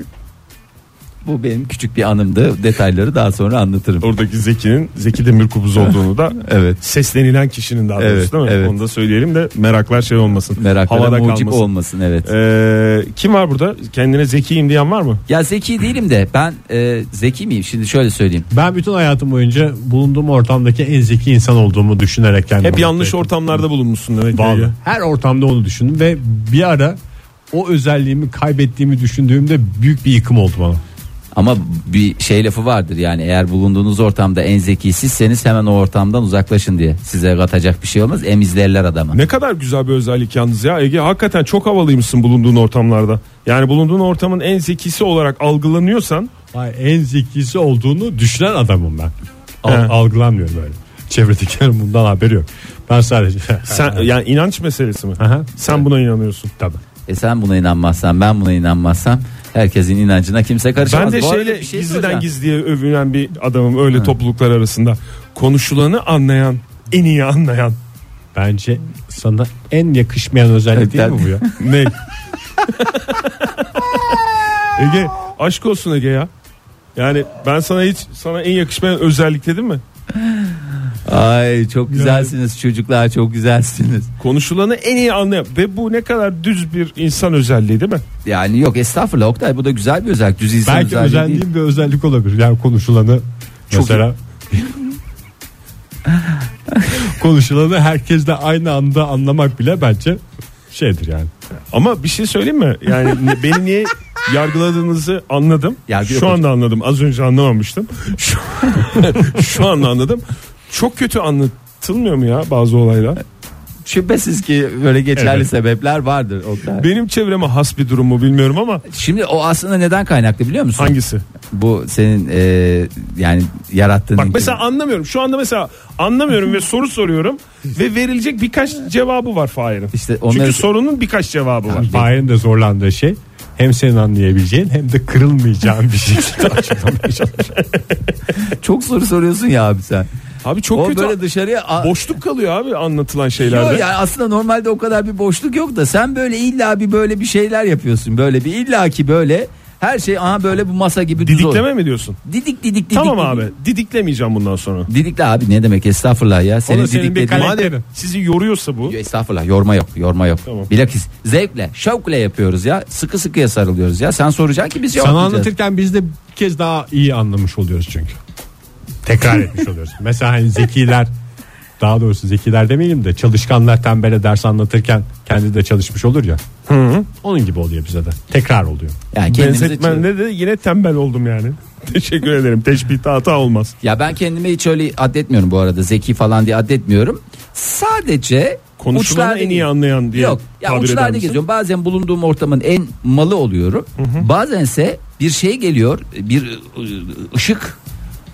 Bu benim küçük bir anımdı. Detayları daha sonra anlatırım. Oradaki zekinin zeki demir kubuz olduğunu da Evet. seslenilen kişinin daha doğrusu Evet, değil mi? evet. Onu da söyleyelim de meraklar şey olmasın. Meraklara havada mucip kalmasın. olmasın evet. Ee, kim var burada? Kendine zekiyim diyen var mı? Ya zeki değilim de ben e, zeki miyim? Şimdi şöyle söyleyeyim. Ben bütün hayatım boyunca bulunduğum ortamdaki en zeki insan olduğumu düşünerek kendimi Hep yanlış mutlu ettim. ortamlarda bulunmuşsun demek. ki. Vallahi her ortamda onu düşündüm ve bir ara o özelliğimi kaybettiğimi düşündüğümde büyük bir yıkım oldu bana. Ama bir şey lafı vardır yani eğer bulunduğunuz ortamda en zeki sizseniz hemen o ortamdan uzaklaşın diye. Size katacak bir şey olmaz emizlerler adamı. Ne kadar güzel bir özellik yalnız ya Ege. Hakikaten çok havalıymışsın bulunduğun ortamlarda. Yani bulunduğun ortamın en zekisi olarak algılanıyorsan Ay, en zekisi olduğunu düşünen adamım ben. Al- algılanmıyor böyle. Çevredekilerin bundan haberi yok. Ben sadece Sen yani inanç meselesi mi? Aha. Sen buna inanıyorsun. Tabii. E sen buna inanmazsan ben buna inanmazsam herkesin inancına kimse Ben karışamaz. de Bu arada şeyle bir şey gizliden soracağım. gizliye övünen bir adamım öyle topluluklar arasında. Konuşulanı anlayan, en iyi anlayan. Bence sana en yakışmayan özellik değil mi bu ya? Ne? Ege aşk olsun Ege ya. Yani ben sana hiç sana en yakışmayan özellik dedim mi? Ay çok güzelsiniz çocuklar çok güzelsiniz. Konuşulanı en iyi anlayan ve bu ne kadar düz bir insan özelliği değil mi? Yani yok estağfurullah Oktay bu da güzel bir özellik. Düz insan Belki özelliği değil. özendiğim bir özellik olabilir. Yani konuşulanı Çok mesela konuşulanı herkesle aynı anda anlamak bile bence şeydir yani. Ama bir şey söyleyeyim mi? Yani ne- beni niye yargıladığınızı anladım. Yargı yok Şu anda anladım. Az önce anlamamıştım. Şu, şu anda anladım. Çok kötü anlatılmıyor mu ya bazı olaylar? Şüphesiz ki böyle geçerli Evet. sebepler vardır Oktay. Benim çevreme has bir durum mu bilmiyorum ama Şimdi o aslında neden kaynaklı biliyor musun? hangisi? Bu senin e, yani yarattığın. Bak mesela anlamıyorum. Şu anda mesela anlamıyorum ve soru soruyorum ve verilecek birkaç cevabı var Fahir'in. İşte onları- Çünkü sorunun birkaç cevabı var. Fahir'in de zorlandığı şey hem senin anlayabileceğin hem de kırılmayacağın bir şey. şekilde açıklamaya çalışıyor. çok soru soruyorsun ya abi sen. Abi çok o kötü. böyle dışarıya a- Boşluk kalıyor abi anlatılan şeylerde. Yok yani aslında normalde o kadar bir boşluk yok da sen böyle illa bir böyle bir şeyler yapıyorsun. Böyle bir illa ki böyle her şey aha böyle bu masa gibi düz Didikleme olur. mi diyorsun? Didik didik didik. tamam didik. abi. Didiklemeyeceğim bundan sonra. Didikle abi ne demek estağfurullah ya. Senin Onun senin bir didiklediğin... kalemlerin. Sizi yoruyorsa bu. Estağfurullah yorma yok yorma yok. Tamam. Bilakis zevkle şevkle yapıyoruz ya. Sıkı sıkıya sarılıyoruz ya. Sen soracaksın ki biz Sana cevaplayacağız. anlatırken biz de bir kez daha iyi anlamış oluyoruz çünkü. Tekrar etmiş oluyoruz. Mesela hani zekiler daha doğrusu zekiler demeyelim de çalışkanlar tembele ders anlatırken kendi de çalışmış olur ya. Onun gibi oluyor bize de. Tekrar oluyor. Yani kendimize- Benzetmende de yine tembel oldum yani. Teşekkür ederim. Teşbihte hata olmaz. Ya ben kendimi hiç öyle adetmiyorum bu arada. Zeki falan diye adetmiyorum. Sadece Konuşulanı uçlarda en iyi anlayan diye Yok ya tabir şey. eder uçlarda misin? geziyorum. Bazen bulunduğum ortamın en malı oluyorum. Bazense bir şey geliyor. Bir ıı, ışık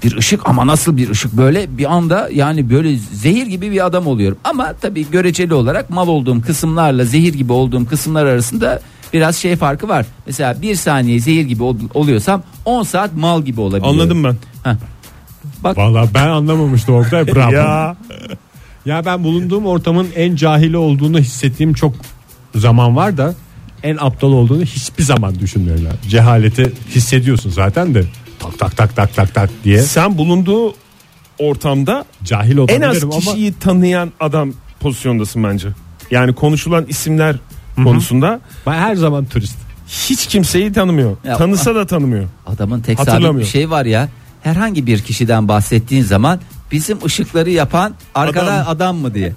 bir ışık ama nasıl bir ışık böyle bir anda yani böyle zehir gibi bir adam oluyorum. Ama tabii göreceli olarak mal olduğum kısımlarla zehir gibi olduğum kısımlar arasında biraz şey farkı var. Mesela bir saniye zehir gibi ol- oluyorsam 10 saat mal gibi olabiliyorum. Anladım ben. Valla ben anlamamıştım Oktay bravo. ya. Ya ben bulunduğum ortamın en cahili olduğunu hissettiğim çok zaman var da en aptal olduğunu hiçbir zaman düşünmüyorum. yani. Cehaleti hissediyorsun zaten de tak tak tak tak tak tak diye sen bulunduğu ortamda cahil en az olabilirim ama kişiyi tanıyan adam pozisyondasın bence. Yani konuşulan isimler konusunda ben her zaman turist. hiç kimseyi tanımıyor. Ya- Tanısa da tanımıyor. Adamın tek sabit bir Hatırlamıyorum. şey var ya. Herhangi bir kişiden bahsettiğin zaman bizim ışıkları yapan arkada adam, Adam. mı diye.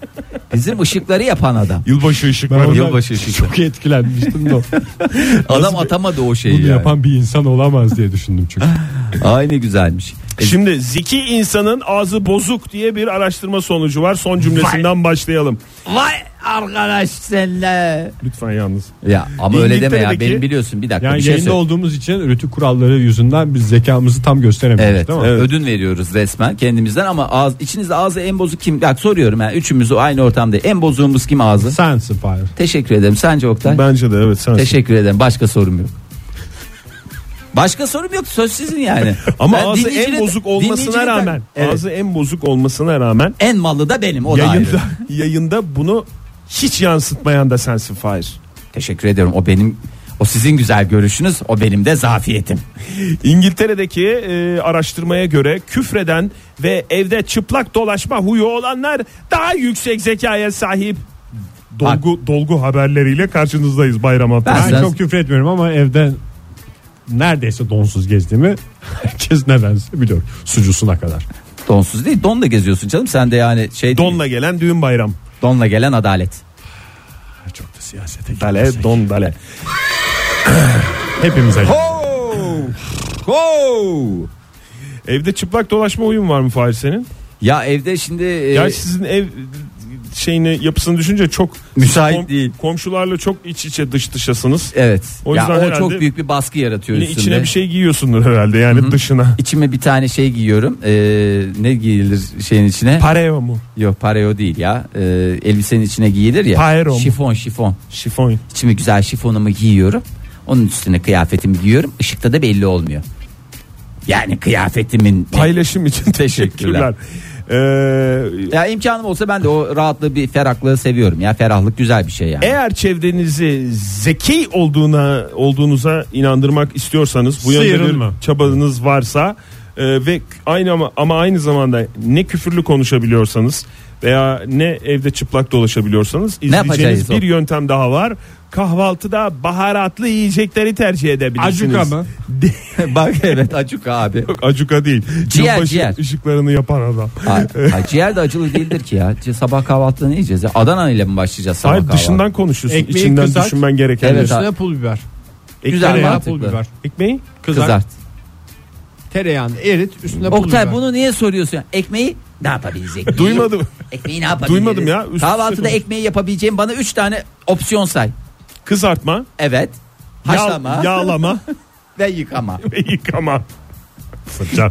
Bizim ışıkları yapan adam. Yılbaşı Ben ışıkları. Yılbaşı ışıkları. Çok etkilenmiştim de. o. Adam atamadı o şeyi. Bunu yani. yapan bir insan olamaz diye düşündüm çünkü. Ay ne güzelmiş. E, Şimdi zeki insanın ağzı bozuk diye bir araştırma sonucu var. Son cümlesinden başlayalım. Vay arkadaş senle. Lütfen yalnız. Ya ama öyle deme ya. İngiltere'deki- Benim biliyorsun bir dakika Yani bir şey yayında söyle. olduğumuz için rütü kuralları yüzünden biz zekamızı tam gösteremiyoruz Evet, değil mi? evet. Ödün veriyoruz resmen kendimizden ama ağız içinizde ağzı en bozuk kim? Bak soruyorum yani üçümüz o aynı ortamda en bozuğumuz kim ağzı? Sensin Fahir. Teşekkür ederim. Sence Oktay? Bence de evet sensin. Teşekkür ederim. Başka sorum yok. Başka sorum yok. Söz sizin yani. Ama Ben ağzı en dinleyicinin- bozuk olmasına dinleyicinin- rağmen, Evet. ağzı en bozuk olmasına rağmen en mallı da benim. O da ayrı. yayında yayında bunu hiç yansıtmayan da sensin Fahir. Teşekkür ediyorum. O benim o sizin güzel görüşünüz, o benim de zafiyetim. İngiltere'deki e, araştırmaya göre küfreden ve evde çıplak dolaşma huyu olanlar daha yüksek zekaya sahip. Dolgu dolgu haberleriyle karşınızdayız bayram Ben- haftası. Ben Sen- çok küfür etmiyorum ama evde neredeyse donsuz gezdiğimi herkes nedense biliyor. Sucusuna kadar. Donsuz değil, donla geziyorsun canım. Sen de yani şey değil, Donla gelen düğün bayram. donla gelen adalet. Çok da siyasete Dale don dale. Hepimize. Evde çıplak dolaşma huyun var mı Fahir senin? Ya evde şimdi e, Gerçi sizin ev şeyini yapısını düşünce çok Müsait kom- değil. Komşularla çok iç içe dış dışasınız. Evet. O ya yüzden o herhalde- çok büyük bir baskı yaratıyor Yine üstünde. içine bir şey giyiyorsundur herhalde yani dışına. İçime bir tane şey giyiyorum. Ee, ne giyilir şeyin içine? Pareo mu? Yok pareo değil ya. Ee, elbisenin içine giyilir ya. Pareo mu? Şifon şifon. Şifon. İçime güzel şifonumu giyiyorum. Onun üstüne kıyafetimi giyiyorum. Işıkta da belli olmuyor. Yani kıyafetimin Paylaşım için teşekkürler. Ee, Ya imkanım olsa ben de o rahatlığı bir ferahlığı seviyorum. Ya ferahlık güzel bir şey yani. eğer çevrenizi zeki olduğuna olduğunuza inandırmak istiyorsanız bu yönde bir Sıyrılma. çabanız varsa e, ve aynı ama, ama aynı zamanda ne küfürlü konuşabiliyorsanız veya ne evde çıplak dolaşabiliyorsanız izleyeceğiniz yapacağız o? bir yöntem daha var. Kahvaltıda baharatlı yiyecekleri tercih edebilirsiniz. Acuka mı? Bak evet acık abi. Yok, Acuka değil. Ciğer, Yılbaşı ciğer. ışıklarını yapan adam. Ha, ha, ciğer de acılı değildir ki ya. C- Sabah kahvaltıda ne yiyeceğiz? ya? Adana ile mi başlayacağız sabah Hayır kahvaltı? dışından konuşuyorsun. Ekmeği İçinden kızart. düşünmen gereken. Evet, diyorsun. abi. Üstüne pul biber. Güzel tereyağı, mantıklı. pul biber. Ekmeği Kızar. kızart. Tereyağını erit üstüne pul biber. Oktay bunu niye soruyorsun? Ekmeği ne yapabileceğiz? Ekmeği- Duymadım. Ekmeği ne yapabiliriz? Duymadım ya, üst üste Kahvaltıda konuş. ekmeği yapabileceğim bana 3 tane opsiyon say. kızartma, Evet. yağ- Haşlama yağlama ve yıkama. ve yıkama.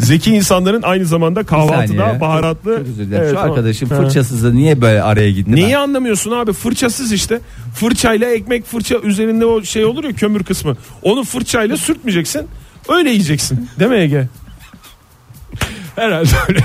Zeki insanların aynı zamanda Bir saniye kahvaltıda ya. baharatlı. Çok özür dilerim. Evet, Şu tamam. arkadaşım Ha. fırçasızı niye böyle araya gitti? Neyi anlamıyorsun abi? Fırçasız işte. Fırçayla ekmek fırça üzerinde o şey olur ya kömür kısmı. Onu fırçayla sürtmeyeceksin. Öyle yiyeceksin. Değil mi Ege? Herhalde öyle.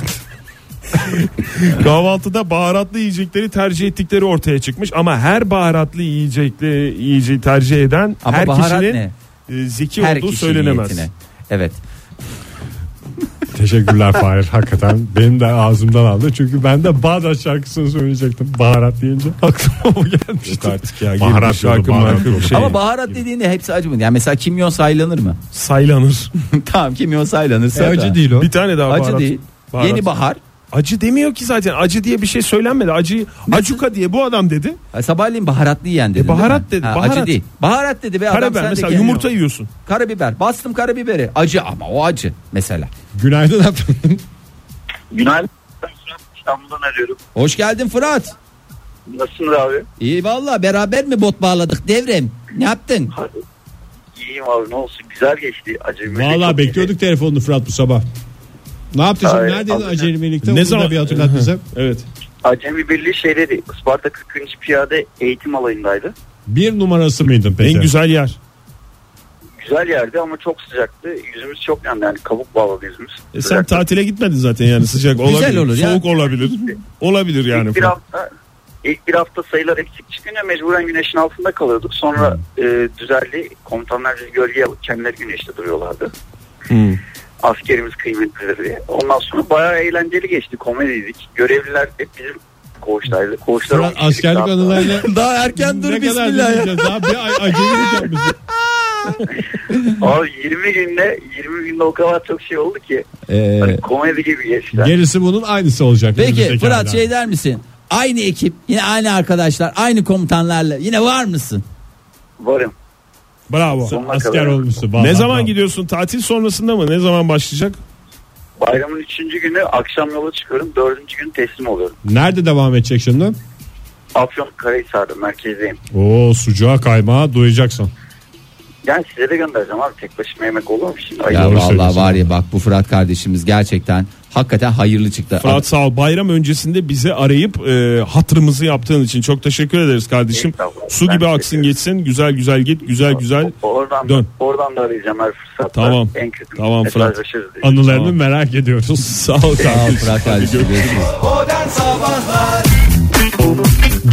Kahvaltıda baharatlı yiyecekleri tercih ettikleri ortaya çıkmış ama her baharatlı yiyecekli yiyeceği tercih eden Ama her baharat kişinin ne? e, zeki Ben her olduğu kişinin söylenemez. niyetine. Evet. Teşekkürler Fahir hakikaten benim de ağzımdan aldı çünkü ben de Bağdat şarkısını söyleyecektim baharat deyince aklıma o gelmişti. artık ya, Baharat girmiş yolu, aklıma baharat aklıma yolu. şey. Ama baharat dediğinde hepsi acı mı? Yani mesela kimyon saylanır mı? Saylanır. tamam kimyon saylanırsa. E, acı da. değil o. Bir tane daha Acı baharat. değil. Baharat. Yeni bahar. Acı demiyor ki zaten. Acı diye bir şey söylenmedi. Acı acuka diye bu adam dedi. Ha, Sabahleyin baharatlı yiyen dedi. E, baharat değil mi? dedi, Ha, Acı baharat. değil. Baharat dedi be adam sen Karabiber de mesela kendin- yumurta yiyorsun. Karabiber. Bastım karabiberi. Acı ama o acı mesela. Günaydın efendim. Günaydın. Ben Fırat İstanbul'dan arıyorum. Hoş geldin Fırat. Nasılsınız abi? İyi valla beraber mi bot bağladık devrem? Ne yaptın? İyiyim abi ne olsun güzel geçti. Acemi Vallahi bekliyorduk telefonunu Fırat bu sabah. Ne yaptı şimdi? Ay, Neredeydin alacağım. acemilikte? Ne Ne zaman- zaman bir hatırlat bize. Evet. Acemi Birliği şeydeydi. Isparta 40. Piyade eğitim alayındaydı. Bir numarası mıydın peki? En güzel yer. Güzel yerdi ama çok sıcaktı. Yüzümüz çok yandı yani kabuk bağladı yüzümüz. E sen Sıcaktı. tatile gitmedin zaten yani sıcak olabilir. olur ya. Soğuk olabilir. Olabilir yani. İlk bir hafta ilk bir hafta sayılar eksik çıkınca mecburen güneşin altında kalıyorduk. Sonra e, düzeldi. Komutanlar bizi gölgeye alıp kendileri güneşte duruyorlardı. Hmm. Askerimiz kıymetlidir diye. Ondan sonra bayağı eğlenceli geçti. Komediydik. Görevliler hep bizim koğuştaydı. Koğuşlar Fırat olmuştu. askerlik anılarıyla Daha erken ne kadar dinleyeceğiz? Daha bir ay acemilik yapmışsın. Abi 20 günde 20 günde o kadar çok şey oldu ki Ee, hani komedi gibi geçti. Gerisi bunun aynısı olacak. Peki önümüzdeki Fırat aylar. şey der misin? Aynı ekip, yine aynı arkadaşlar, aynı komutanlarla yine var mısın? Varım. Bravo. Sonuna Asker kadar. olmuşsun. Ne vallahi zaman bravo. gidiyorsun? Tatil sonrasında mı? Ne zaman başlayacak? Bayramın 3. günü akşam yola çıkıyorum. 4. gün teslim oluyorum. Nerede devam edecek şimdi? Afyon Karahisar'da merkezdeyim. Oo sucuğa kaymağa doyacaksın. Yani size de göndereceğim abi. Tek başıma yemek olur mu şimdi? Ayıp. Ya doğru vallahi söylüyorsun. var ya bak bu Fırat kardeşimiz gerçekten hakikaten hayırlı çıktı. Fırat sağ ol. Bayram öncesinde bizi arayıp e, hatırımızı yaptığın için çok teşekkür ederiz kardeşim. Estağfurullah. Su Ben gibi teşekkür aksın ederim. geçsin. Güzel güzel git. Güzel güzel. Oradan, Dön. oradan da arayacağım her fırsatta. Tamam. En kötü Tamam Fırat. mesajlaşırız diye. Anılarını merak ediyoruz. Sağ ol Sağ ol kardeşim. Fırat kardeşim. görüşürüz.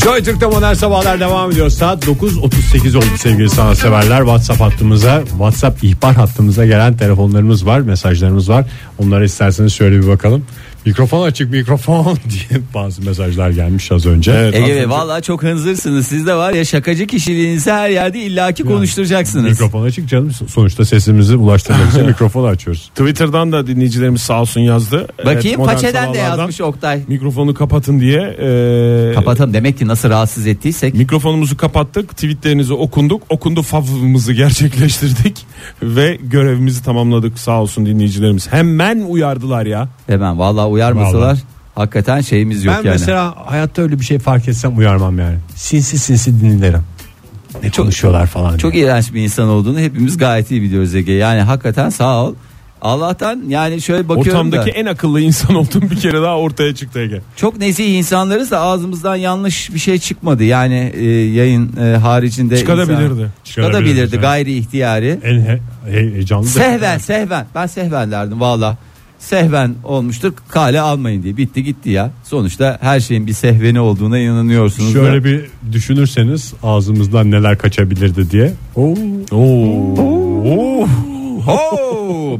Joy Türk'te modern sabahlar devam ediyor. Saat 9.38 oldu sevgili sanatseverler. WhatsApp hattımıza, WhatsApp ihbar hattımıza gelen telefonlarımız var, mesajlarımız var. Onlara isterseniz şöyle bir bakalım. Mikrofon açık mikrofon diye bazı mesajlar gelmiş az önce. Ege Bey valla çok hınzırsınız. Siz de var ya şakacı kişiliğinizi her yerde illaki konuşturacaksınız. Mikrofon açık canım sonuçta sesimizi ulaştırmak için mikrofonu açıyoruz. Twitter'dan da dinleyicilerimiz sağ olsun yazdı. Evet, Bakayım modern paçeden de sabahlardan yazmış Oktay. Mikrofonu kapatın diye. e, Kapatalım demek ki nasıl rahatsız ettiysek. Mikrofonumuzu kapattık, tweetlerinizi okunduk, okundu favımızı gerçekleştirdik ve E görevimizi tamamladık sağ olsun dinleyicilerimiz. Hemen uyardılar ya. Hemen valla uyarmasalar. hakikaten şeyimiz yok ben yani. mesela hayatta öyle bir şey fark etsem uyarmam yani. Sinsi sinsi dinlerim. Ne konuşuyorlar falan. Çok diye. iğrenç bir insan olduğunu hepimiz gayet iyi biliyoruz Ege. Yani hakikaten sağ ol. Allah'tan yani şöyle bakıyorum Ortamdaki da en akıllı insan olduğum bir kere daha ortaya çıktı Ege. çok nezih insanlarız da ağzımızdan yanlış bir şey çıkmadı. Yani e, yayın e, haricinde Çıkabilirdi. insan- Çıkarabilirdi, çıkabilirdi evet. E, gayri ihtiyari. En he, he- heyecanlı. da- Sehven sehven ben sehven derdim valla. Sehven olmuştur kale almayın diye bitti gitti ya. Sonuçta her şeyin bir sehveni olduğuna inanıyorsunuz. da. Şöyle bir düşünürseniz ağzımızdan neler kaçabilirdi diye. Oo. Oo. Oo!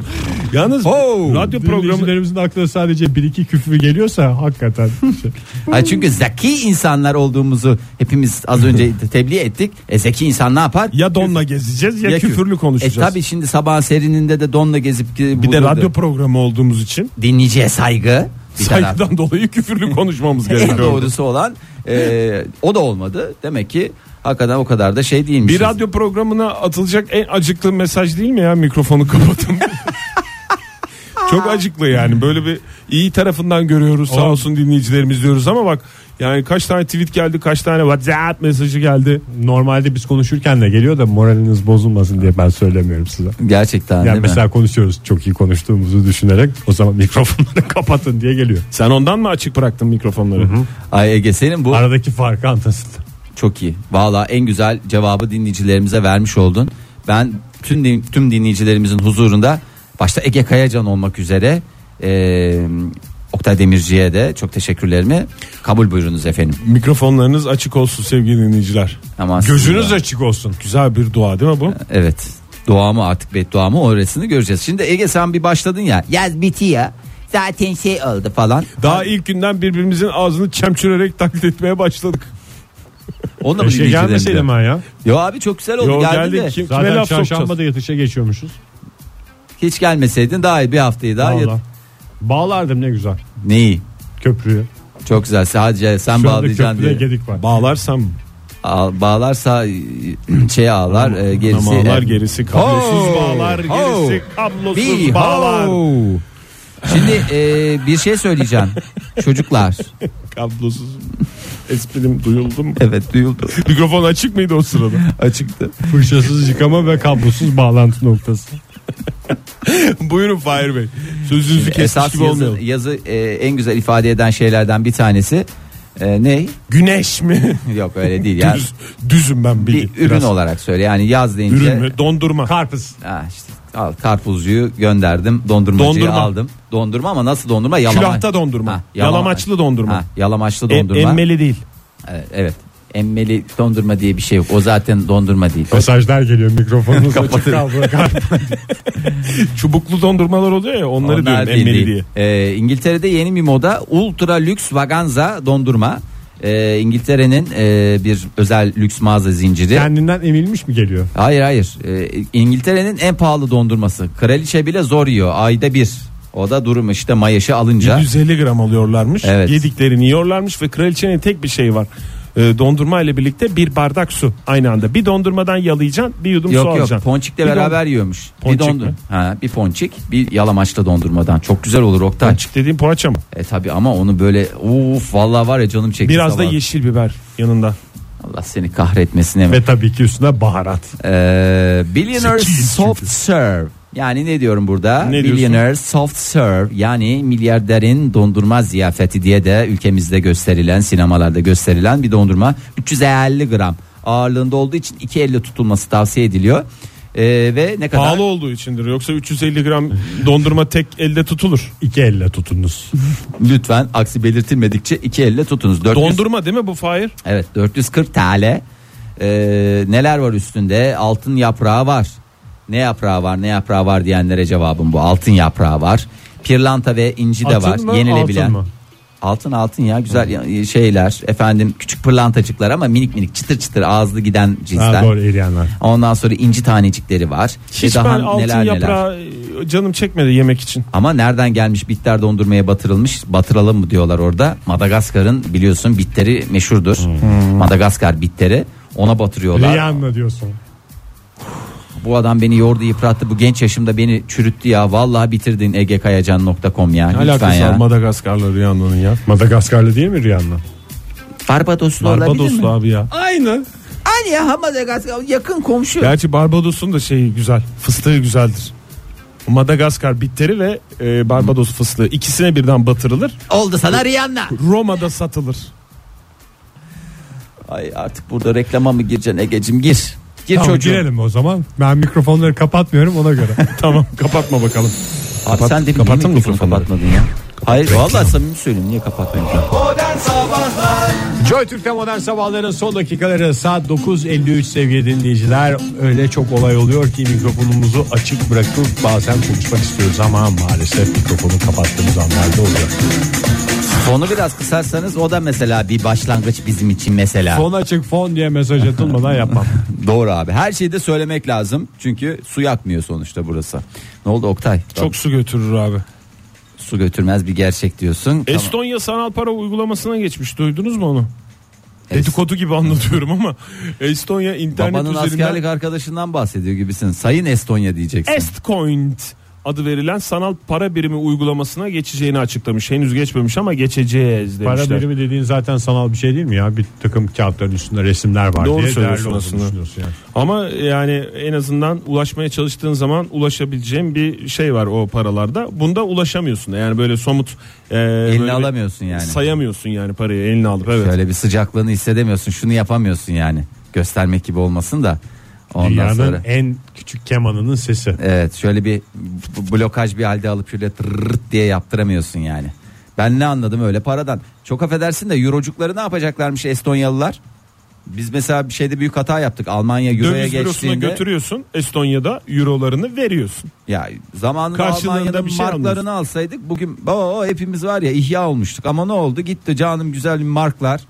Yalnız Oo. radyo programcılarımızın aklına sadece bir iki küfür geliyorsa hakikaten. şey, Ay çünkü zeki insanlar olduğumuzu hepimiz az önce tebliğ ettik. E zeki insan ne yapar? Ya donla gezeceğiz ya, küfür. küfürlü E konuşacağız. tabi şimdi sabah serininde de donla gezip bir de radyo programı olduğumuz için dinleyiciye saygı. Bir taraf. saygıdan dolayı küfürlü konuşmamız En gerekiyor. doğrusu olan e, o da olmadı. Demek ki hakikaten o kadar da şey değilmiş. Bir radyo programına atılacak en acıklı mesaj değil mi ya mikrofonu kapatın. Çok acıklı yani böyle bir iyi tarafından görüyoruz sağ olsun dinleyicilerimiz diyoruz ama bak yani kaç tane tweet geldi kaç tane WhatsApp mesajı geldi. Normalde biz konuşurken de geliyor da moraliniz bozulmasın diye ben söylemiyorum size. Gerçekten Yani değil mi? mesela konuşuyoruz çok iyi konuştuğumuzu düşünerek o zaman mikrofonları kapatın diye geliyor. Sen ondan mı açık bıraktın mikrofonları? Ay Ege senin bu Aradaki farkı anlasın. çok iyi. Valla en güzel cevabı dinleyicilerimize vermiş oldun. Ben tüm din- tüm dinleyicilerimizin huzurunda başta Ege Kayacan olmak üzere e, Oktay Demirci'ye de çok teşekkürlerimi kabul buyurunuz efendim. Mikrofonlarınız açık olsun sevgili dinleyiciler. Aman Gözünüz sizinle. açık olsun. Güzel bir dua değil mi bu? Evet. Doğamı artık bedduamı orasını göreceğiz. Şimdi Ege sen bir başladın ya. Yaz biti ya. Zaten şey oldu falan. Daha ilk günden birbirimizin ağzını çemçürerek taklit etmeye başladık. Onunla mı Keşke dinleyicilerim gelmeseydim diyor? ben ya. Yo abi çok güzel oldu. Yo, geldi geldik. de. Kim- Kime Zaten laf sokacağız? çarşamba da yatışa geçiyormuşuz. Hiç gelmeseydin daha iyi bir haftayı daha. Vallahi. yat- Bağlardım ne güzel Neyi? köprüyü. Çok güzel. Sadece Şu sen anda bağlayacaksın köprüde diye. gedik var. Bağlarsam Al- bağlarsa şey ağlar, e, gerisi. ağlar gerisi kablosuz Ho! bağlar Ho! gerisi kablosuz Bir bağlar. ho! Şimdi e, bir şey söyleyeceğim. Çocuklar. Kablosuz esprim duyuldu mu? Evet duyuldu. Mikrofon açık mıydı o sırada? Açıktı. Fırçasız yıkama ve kablosuz bağlantı noktası. Buyurun Fahir Bey. Sözünüzü kesmiş Esas gibi yazı, olmayalım. yazı e, en güzel ifade eden şeylerden bir tanesi e, ne? Güneş mi? Yok öyle değil yani. Düz, düzüm ben bir bir, ürün olarak söyle yani yaz deyince. Ürün mü? Dondurma. Karpuz. Ha işte al karpuzcuyu gönderdim dondurmacıyı Dondurma. aldım. Dondurma ama nasıl dondurma? Yalama. Külahta dondurma. Ha, yalama- Yalamaçlı dondurma. Ha, yalamaçlı E- dondurma. emmeli değil. Evet, Evet. Emmeli dondurma diye bir şey yok. O zaten dondurma değil. Mesajlar geliyor mikrofonunuz açık kaldı. Karpuz. Çubuklu dondurmalar oluyor ya onları Onlar diyorum değil, emmeli değil. diye. Ee, İngiltere'de yeni bir moda ultra lüks vaganza dondurma. Ee, İngiltere'nin e, bir özel lüks mağaza zinciri. Kendinden emilmiş mi geliyor? Hayır hayır. Ee, İngiltere'nin en pahalı dondurması. Kraliçe bile zor yiyor. Ayda bir. O da durum işte mayaşı alınca. 750 gram alıyorlarmış. Evet. Yediklerini yiyorlarmış ve kraliçenin tek bir şeyi var. Ee, dondurma ile birlikte bir bardak su aynı anda. Bir dondurmadan yalayacaksın, bir yudum su Yok yok alacaksın. ponçikle Bir don- beraber yiyormuş. Ponçik bir dondu. mi? Ha, bir ponçik, bir yalamaçlı dondurmadan. Çok güzel olur Oktay. Açık dediğim poğaça mı? E tabi ama onu böyle uf vallahi var ya canım çekti. Biraz da sabah. yeşil biber yanında. Allah seni kahretmesin hemen. Ve tabii ki üstüne baharat. Ee, billionaire Zekiyiz soft serve. Yani ne diyorum burada? Ne diyorsun? billionaire soft serve yani milyarderin dondurma ziyafeti diye de ülkemizde gösterilen sinemalarda gösterilen bir dondurma 350 gram ağırlığında olduğu için iki elle tutulması tavsiye ediliyor. Ee, ve ne kadar? Pahalı olduğu içindir. Yoksa 350 gram dondurma tek elde tutulur. İki elle tutunuz. Lütfen aksi belirtilmedikçe iki elle tutunuz. 400 Dondurma değil mi bu Fahir? Evet 440 TL. Ee, neler var üstünde? Altın yaprağı var. Ne yaprağı var? Ne yaprağı var diyenlere cevabım bu. Altın yaprağı var. Pirlanta ve inci de Altın var. mı, Yenilebilen. altın mı? Altın altın ya güzel ya- e, şeyler. Efendim küçük pırlantacıklar ama minik minik çıtır çıtır ağızlı giden cinsten. Ha, doğru eriyenler. Ondan sonra inci tanecikleri var. Hiç ben Ve altın yaprağı e, canım çekmedi yemek için. Ama nereden gelmiş bitler dondurmaya batırılmış batıralım mı diyorlar orada. Madagaskar'ın biliyorsun bitleri meşhurdur. Madagaskar bitleri ona batırıyorlar. Rihanna diyorsun. bu adam beni yordu yıprattı bu genç yaşımda beni çürüttü ya vallahi bitirdin egekayacan.com ya Ne lütfen alakası var ya. Madagaskar'la Rihanna'nın ya? Madagaskarlı değil mi Rihanna? Barbadoslu olabilir mi? Barbadoslu abi ya. Aynen. Aynı ya ha, Madagaskar yakın komşu. Gerçi Barbados'un da şeyi güzel. Fıstığı güzeldir. Madagaskar bitteri ve e, Barbados fıstığı ikisine birden batırılır. Oldu sana Rihanna. Roma'da satılır. Ay artık burada reklama mı gireceksin Egecim gir. Gir Tamam, çocuğum. girelim o zaman. Ben mikrofonları kapatmıyorum ona göre. tamam kapatma bakalım. Abi sen de bir niye Kapatın mikrofonu mikrofonları. kapatmadın ya. Hayır vallahi samimi söylüyorum niye kapatmıyorsun? Joy Türk'te modern sabahların son dakikaları saat 9.53 sevgili dinleyiciler. Öyle çok olay oluyor ki mikrofonumuzu açık bırakıp bazen konuşmak istiyoruz ama maalesef mikrofonu kapattığımız anlarda oluyor. Fonu biraz kısarsanız o da mesela bir başlangıç bizim için mesela. Fon açık fon diye mesaj atılmadan yapmam. Doğru abi. Her şeyi de söylemek lazım. Çünkü su yakmıyor sonuçta burası. Ne oldu Oktay? Çok Çok su götürür abi. su götürmez bir gerçek diyorsun. Tamam. Estonya sanal para uygulamasına geçmiş. Duydunuz mu onu? Evet. Dedikodu gibi anlatıyorum ama Estonya internet Babanın üzerinden askerlik arkadaşından bahsediyor gibisin. Sayın Estonya diyeceksin. Estcoin adı verilen sanal para birimi uygulamasına geçeceğini açıklamış. Henüz geçmemiş ama geçeceğiz demişler. Para birimi dediğin zaten sanal bir şey değil mi ya? Bir takım kağıtların üstünde resimler var Doğru diye söylüyorsun değerli olduğunu aslında. düşünüyorsun yani. Ama yani en azından ulaşmaya çalıştığın zaman ulaşabileceğin bir şey var o paralarda. Bunda ulaşamıyorsun. Yani böyle somut e, Elini böyle alamıyorsun yani. Sayamıyorsun yani parayı eline alıp evet. Şöyle bir sıcaklığını hissedemiyorsun. Şunu yapamıyorsun yani. Göstermek gibi olmasın da. Ondan Dünyanın sonra. en küçük kemanının sesi. Evet şöyle bir b- blokaj bir halde alıp şöyle tırırt diye yaptıramıyorsun yani. Ben ne anladım öyle paradan. Çok affedersin de eurocukları ne yapacaklarmış Estonyalılar? Biz mesela bir şeyde büyük hata yaptık. Almanya euroya Döviz bürosuna geçtiğinde götürüyorsun. Estonya'da eurolarını veriyorsun. ya zamanında Karşılığında Almanya'nın bir şey marklarını almıyorsun. alsaydık bugün o hepimiz var ya ihya olmuştuk. Ama ne oldu? Gitti canım güzel marklar.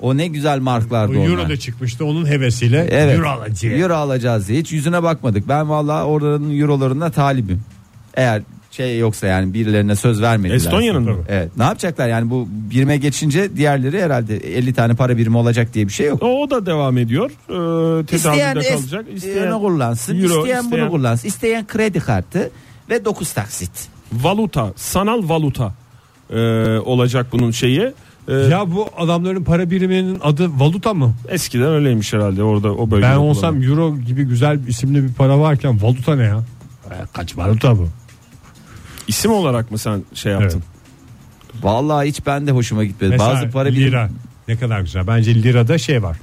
O ne güzel O marklardı onlar. Euro da çıkmıştı onun hevesiyle. Evet. Euro alacağız. Euro alacağız diye. Hiç yüzüne bakmadık. Ben vallahi oraların eurolarına talibim. Eğer şey yoksa yani birilerine söz vermediler. Estonya'nın mı? Evet. Ne yapacaklar yani bu birime geçince diğerleri herhalde 50 tane para birimi olacak diye bir şey yok. O da devam ediyor. Ee, İsteyen tedavide es- e, kalacak. onu kullansın, euro, isteyen bunu isteyen- kullansın, isteyen kredi kartı ve 9 taksit. Valuta, sanal valuta e, olacak bunun şeyi. E, Ya bu adamların para biriminin adı valuta mı? eskiden öyleymiş herhalde orada o bölgede. Ben kullanılan. olsam euro gibi güzel bir isimli bir para varken valuta ne ya? E, Kaç valuta bu? isim olarak mı sen şey yaptın? Vallahi hiç ben de hoşuma gitmedi. Mesela Bazı para birimi lira. Ne kadar güzel. Bence lirada şey var.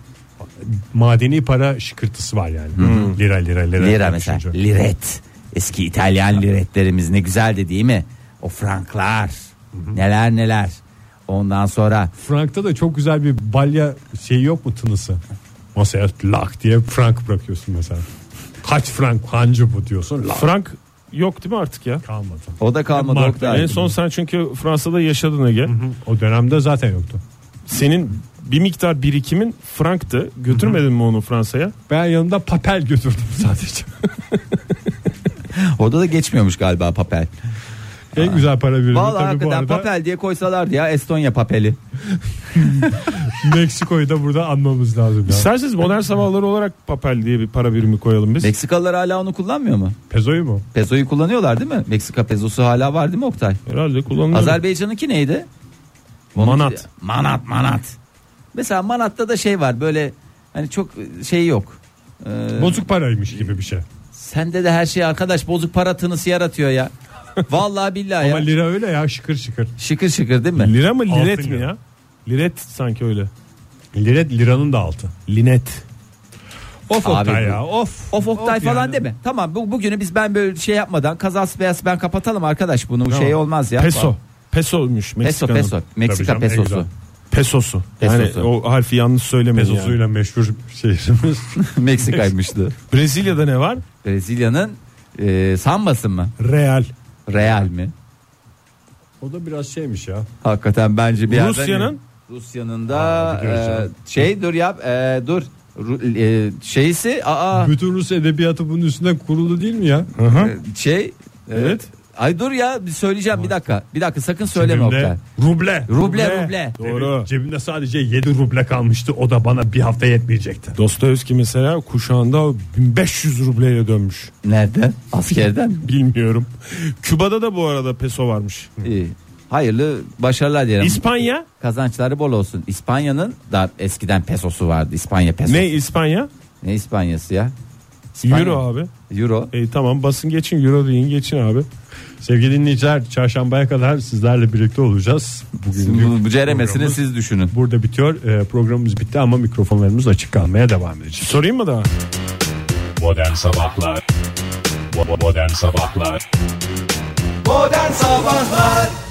Madeni para şıkırtısı var yani. Lira lira lira. Hmm. Lira mesela. Düşünce. Liret. Eski İtalyan liretlerimiz ne güzeldi değil mi? O franklar. Neler neler. Ondan sonra Frank'ta da çok güzel bir balya şey yok mu tınısı? Masaya lak diye frank bırakıyorsun mesela. Kaç frank hancı bu diyorsun. Lak Frank yok değil mi artık ya? kalmadı. o da kalmadı. Mark Oktay. En son sen çünkü Fransa'da yaşadın Ege. O dönemde zaten yoktu. Senin bir miktar birikimin franktı. Götürmedin mi onu Fransa'ya? Ben yanımda papel götürdüm sadece. Orada da geçmiyormuş galiba papel. en güzel para birimi Vallahi tabii bu hakikaten arada. papel diye koysalardı ya Estonya papeli. Meksiko'yu da burada anmamız lazım. Ya. İsterseniz modern sabahları olarak papel diye bir para birimi koyalım biz. Meksikalılar hala onu kullanmıyor mu? Pezoyu mu? Pezoyu kullanıyorlar değil mi? Meksika pezosu hala var değil mi Oktay? Herhalde kullanılıyor. Azerbaycan'ınki neydi? Manat. Manat manat. Mesela manatta da şey var böyle hani çok şey yok. Ee, Bozuk paraymış gibi bir şey. Sende de her şey arkadaş bozuk para tınısı yaratıyor ya. Vallahi billahi Ama ya. lira öyle ya şıkır şıkır. Şıkır şıkır değil mi? Lira mı liret Altın mi ya. ya? Liret sanki öyle. Lira liranın da altı. Linet. Of Abi Oktay bu- ya of. Of Oktay falan yani. deme. Tamam bu, bugünü biz ben böyle şey yapmadan kazas beyaz ben kapatalım arkadaş bunu bu şey olmaz ya. Peso. Peso'ymuş Peso Meksika'nın. peso. Meksika Tabii canım, en pesosu. Pesosu. Pesosu. Yani o harfi yanlış söylemeyin. yani. Pezosuyla meşhur şehrimiz. Meksika'ymıştı. Brezilya'da ne var? Brezilya'nın e, sambası mı? Real. Real mi? O da biraz şeymiş ya. Hakikaten bence bir yerden- Rusya'nın? Rusya'nın da Aa, biliyoruz e, canım. şey dur yap e, dur Ru- e, şeysi aa Bütün Rus edebiyatı bunun üstünden kurulu değil mi ya? şey Evet. Ay dur ya bir söyleyeceğim bir dakika. Bir dakika sakın söyleme Cebimde Oktay. Ruble. Ruble ruble. Doğru. Cebimde sadece 7 ruble kalmıştı. O da bana bir hafta yetmeyecekti. Dostoyevski mesela kuşağında 1500 rubleye dönmüş. Nereden? Askerden. Bilmiyorum. Küba'da da bu arada peso varmış. İyi. Hayırlı başarılar dilerim. İspanya? Kazançları bol olsun. İspanya'nın da eskiden pesosu vardı. İspanya pesosu. Ne Ne, İspanya? İspanya'sı ya? Euro abi. Euro. E, tamam basın geçin Euro deyin geçin abi. Sevgili dinleyiciler çarşambaya kadar sizlerle birlikte olacağız. Sizin Bugün bu, bu ceremesini siz düşünün. burada bitiyor. Ee, programımız bitti ama mikrofonlarımız açık kalmaya devam edecek. Sorayım mı daha? Modern Sabahlar Bo- bo- Modern Sabahlar Modern Sabahlar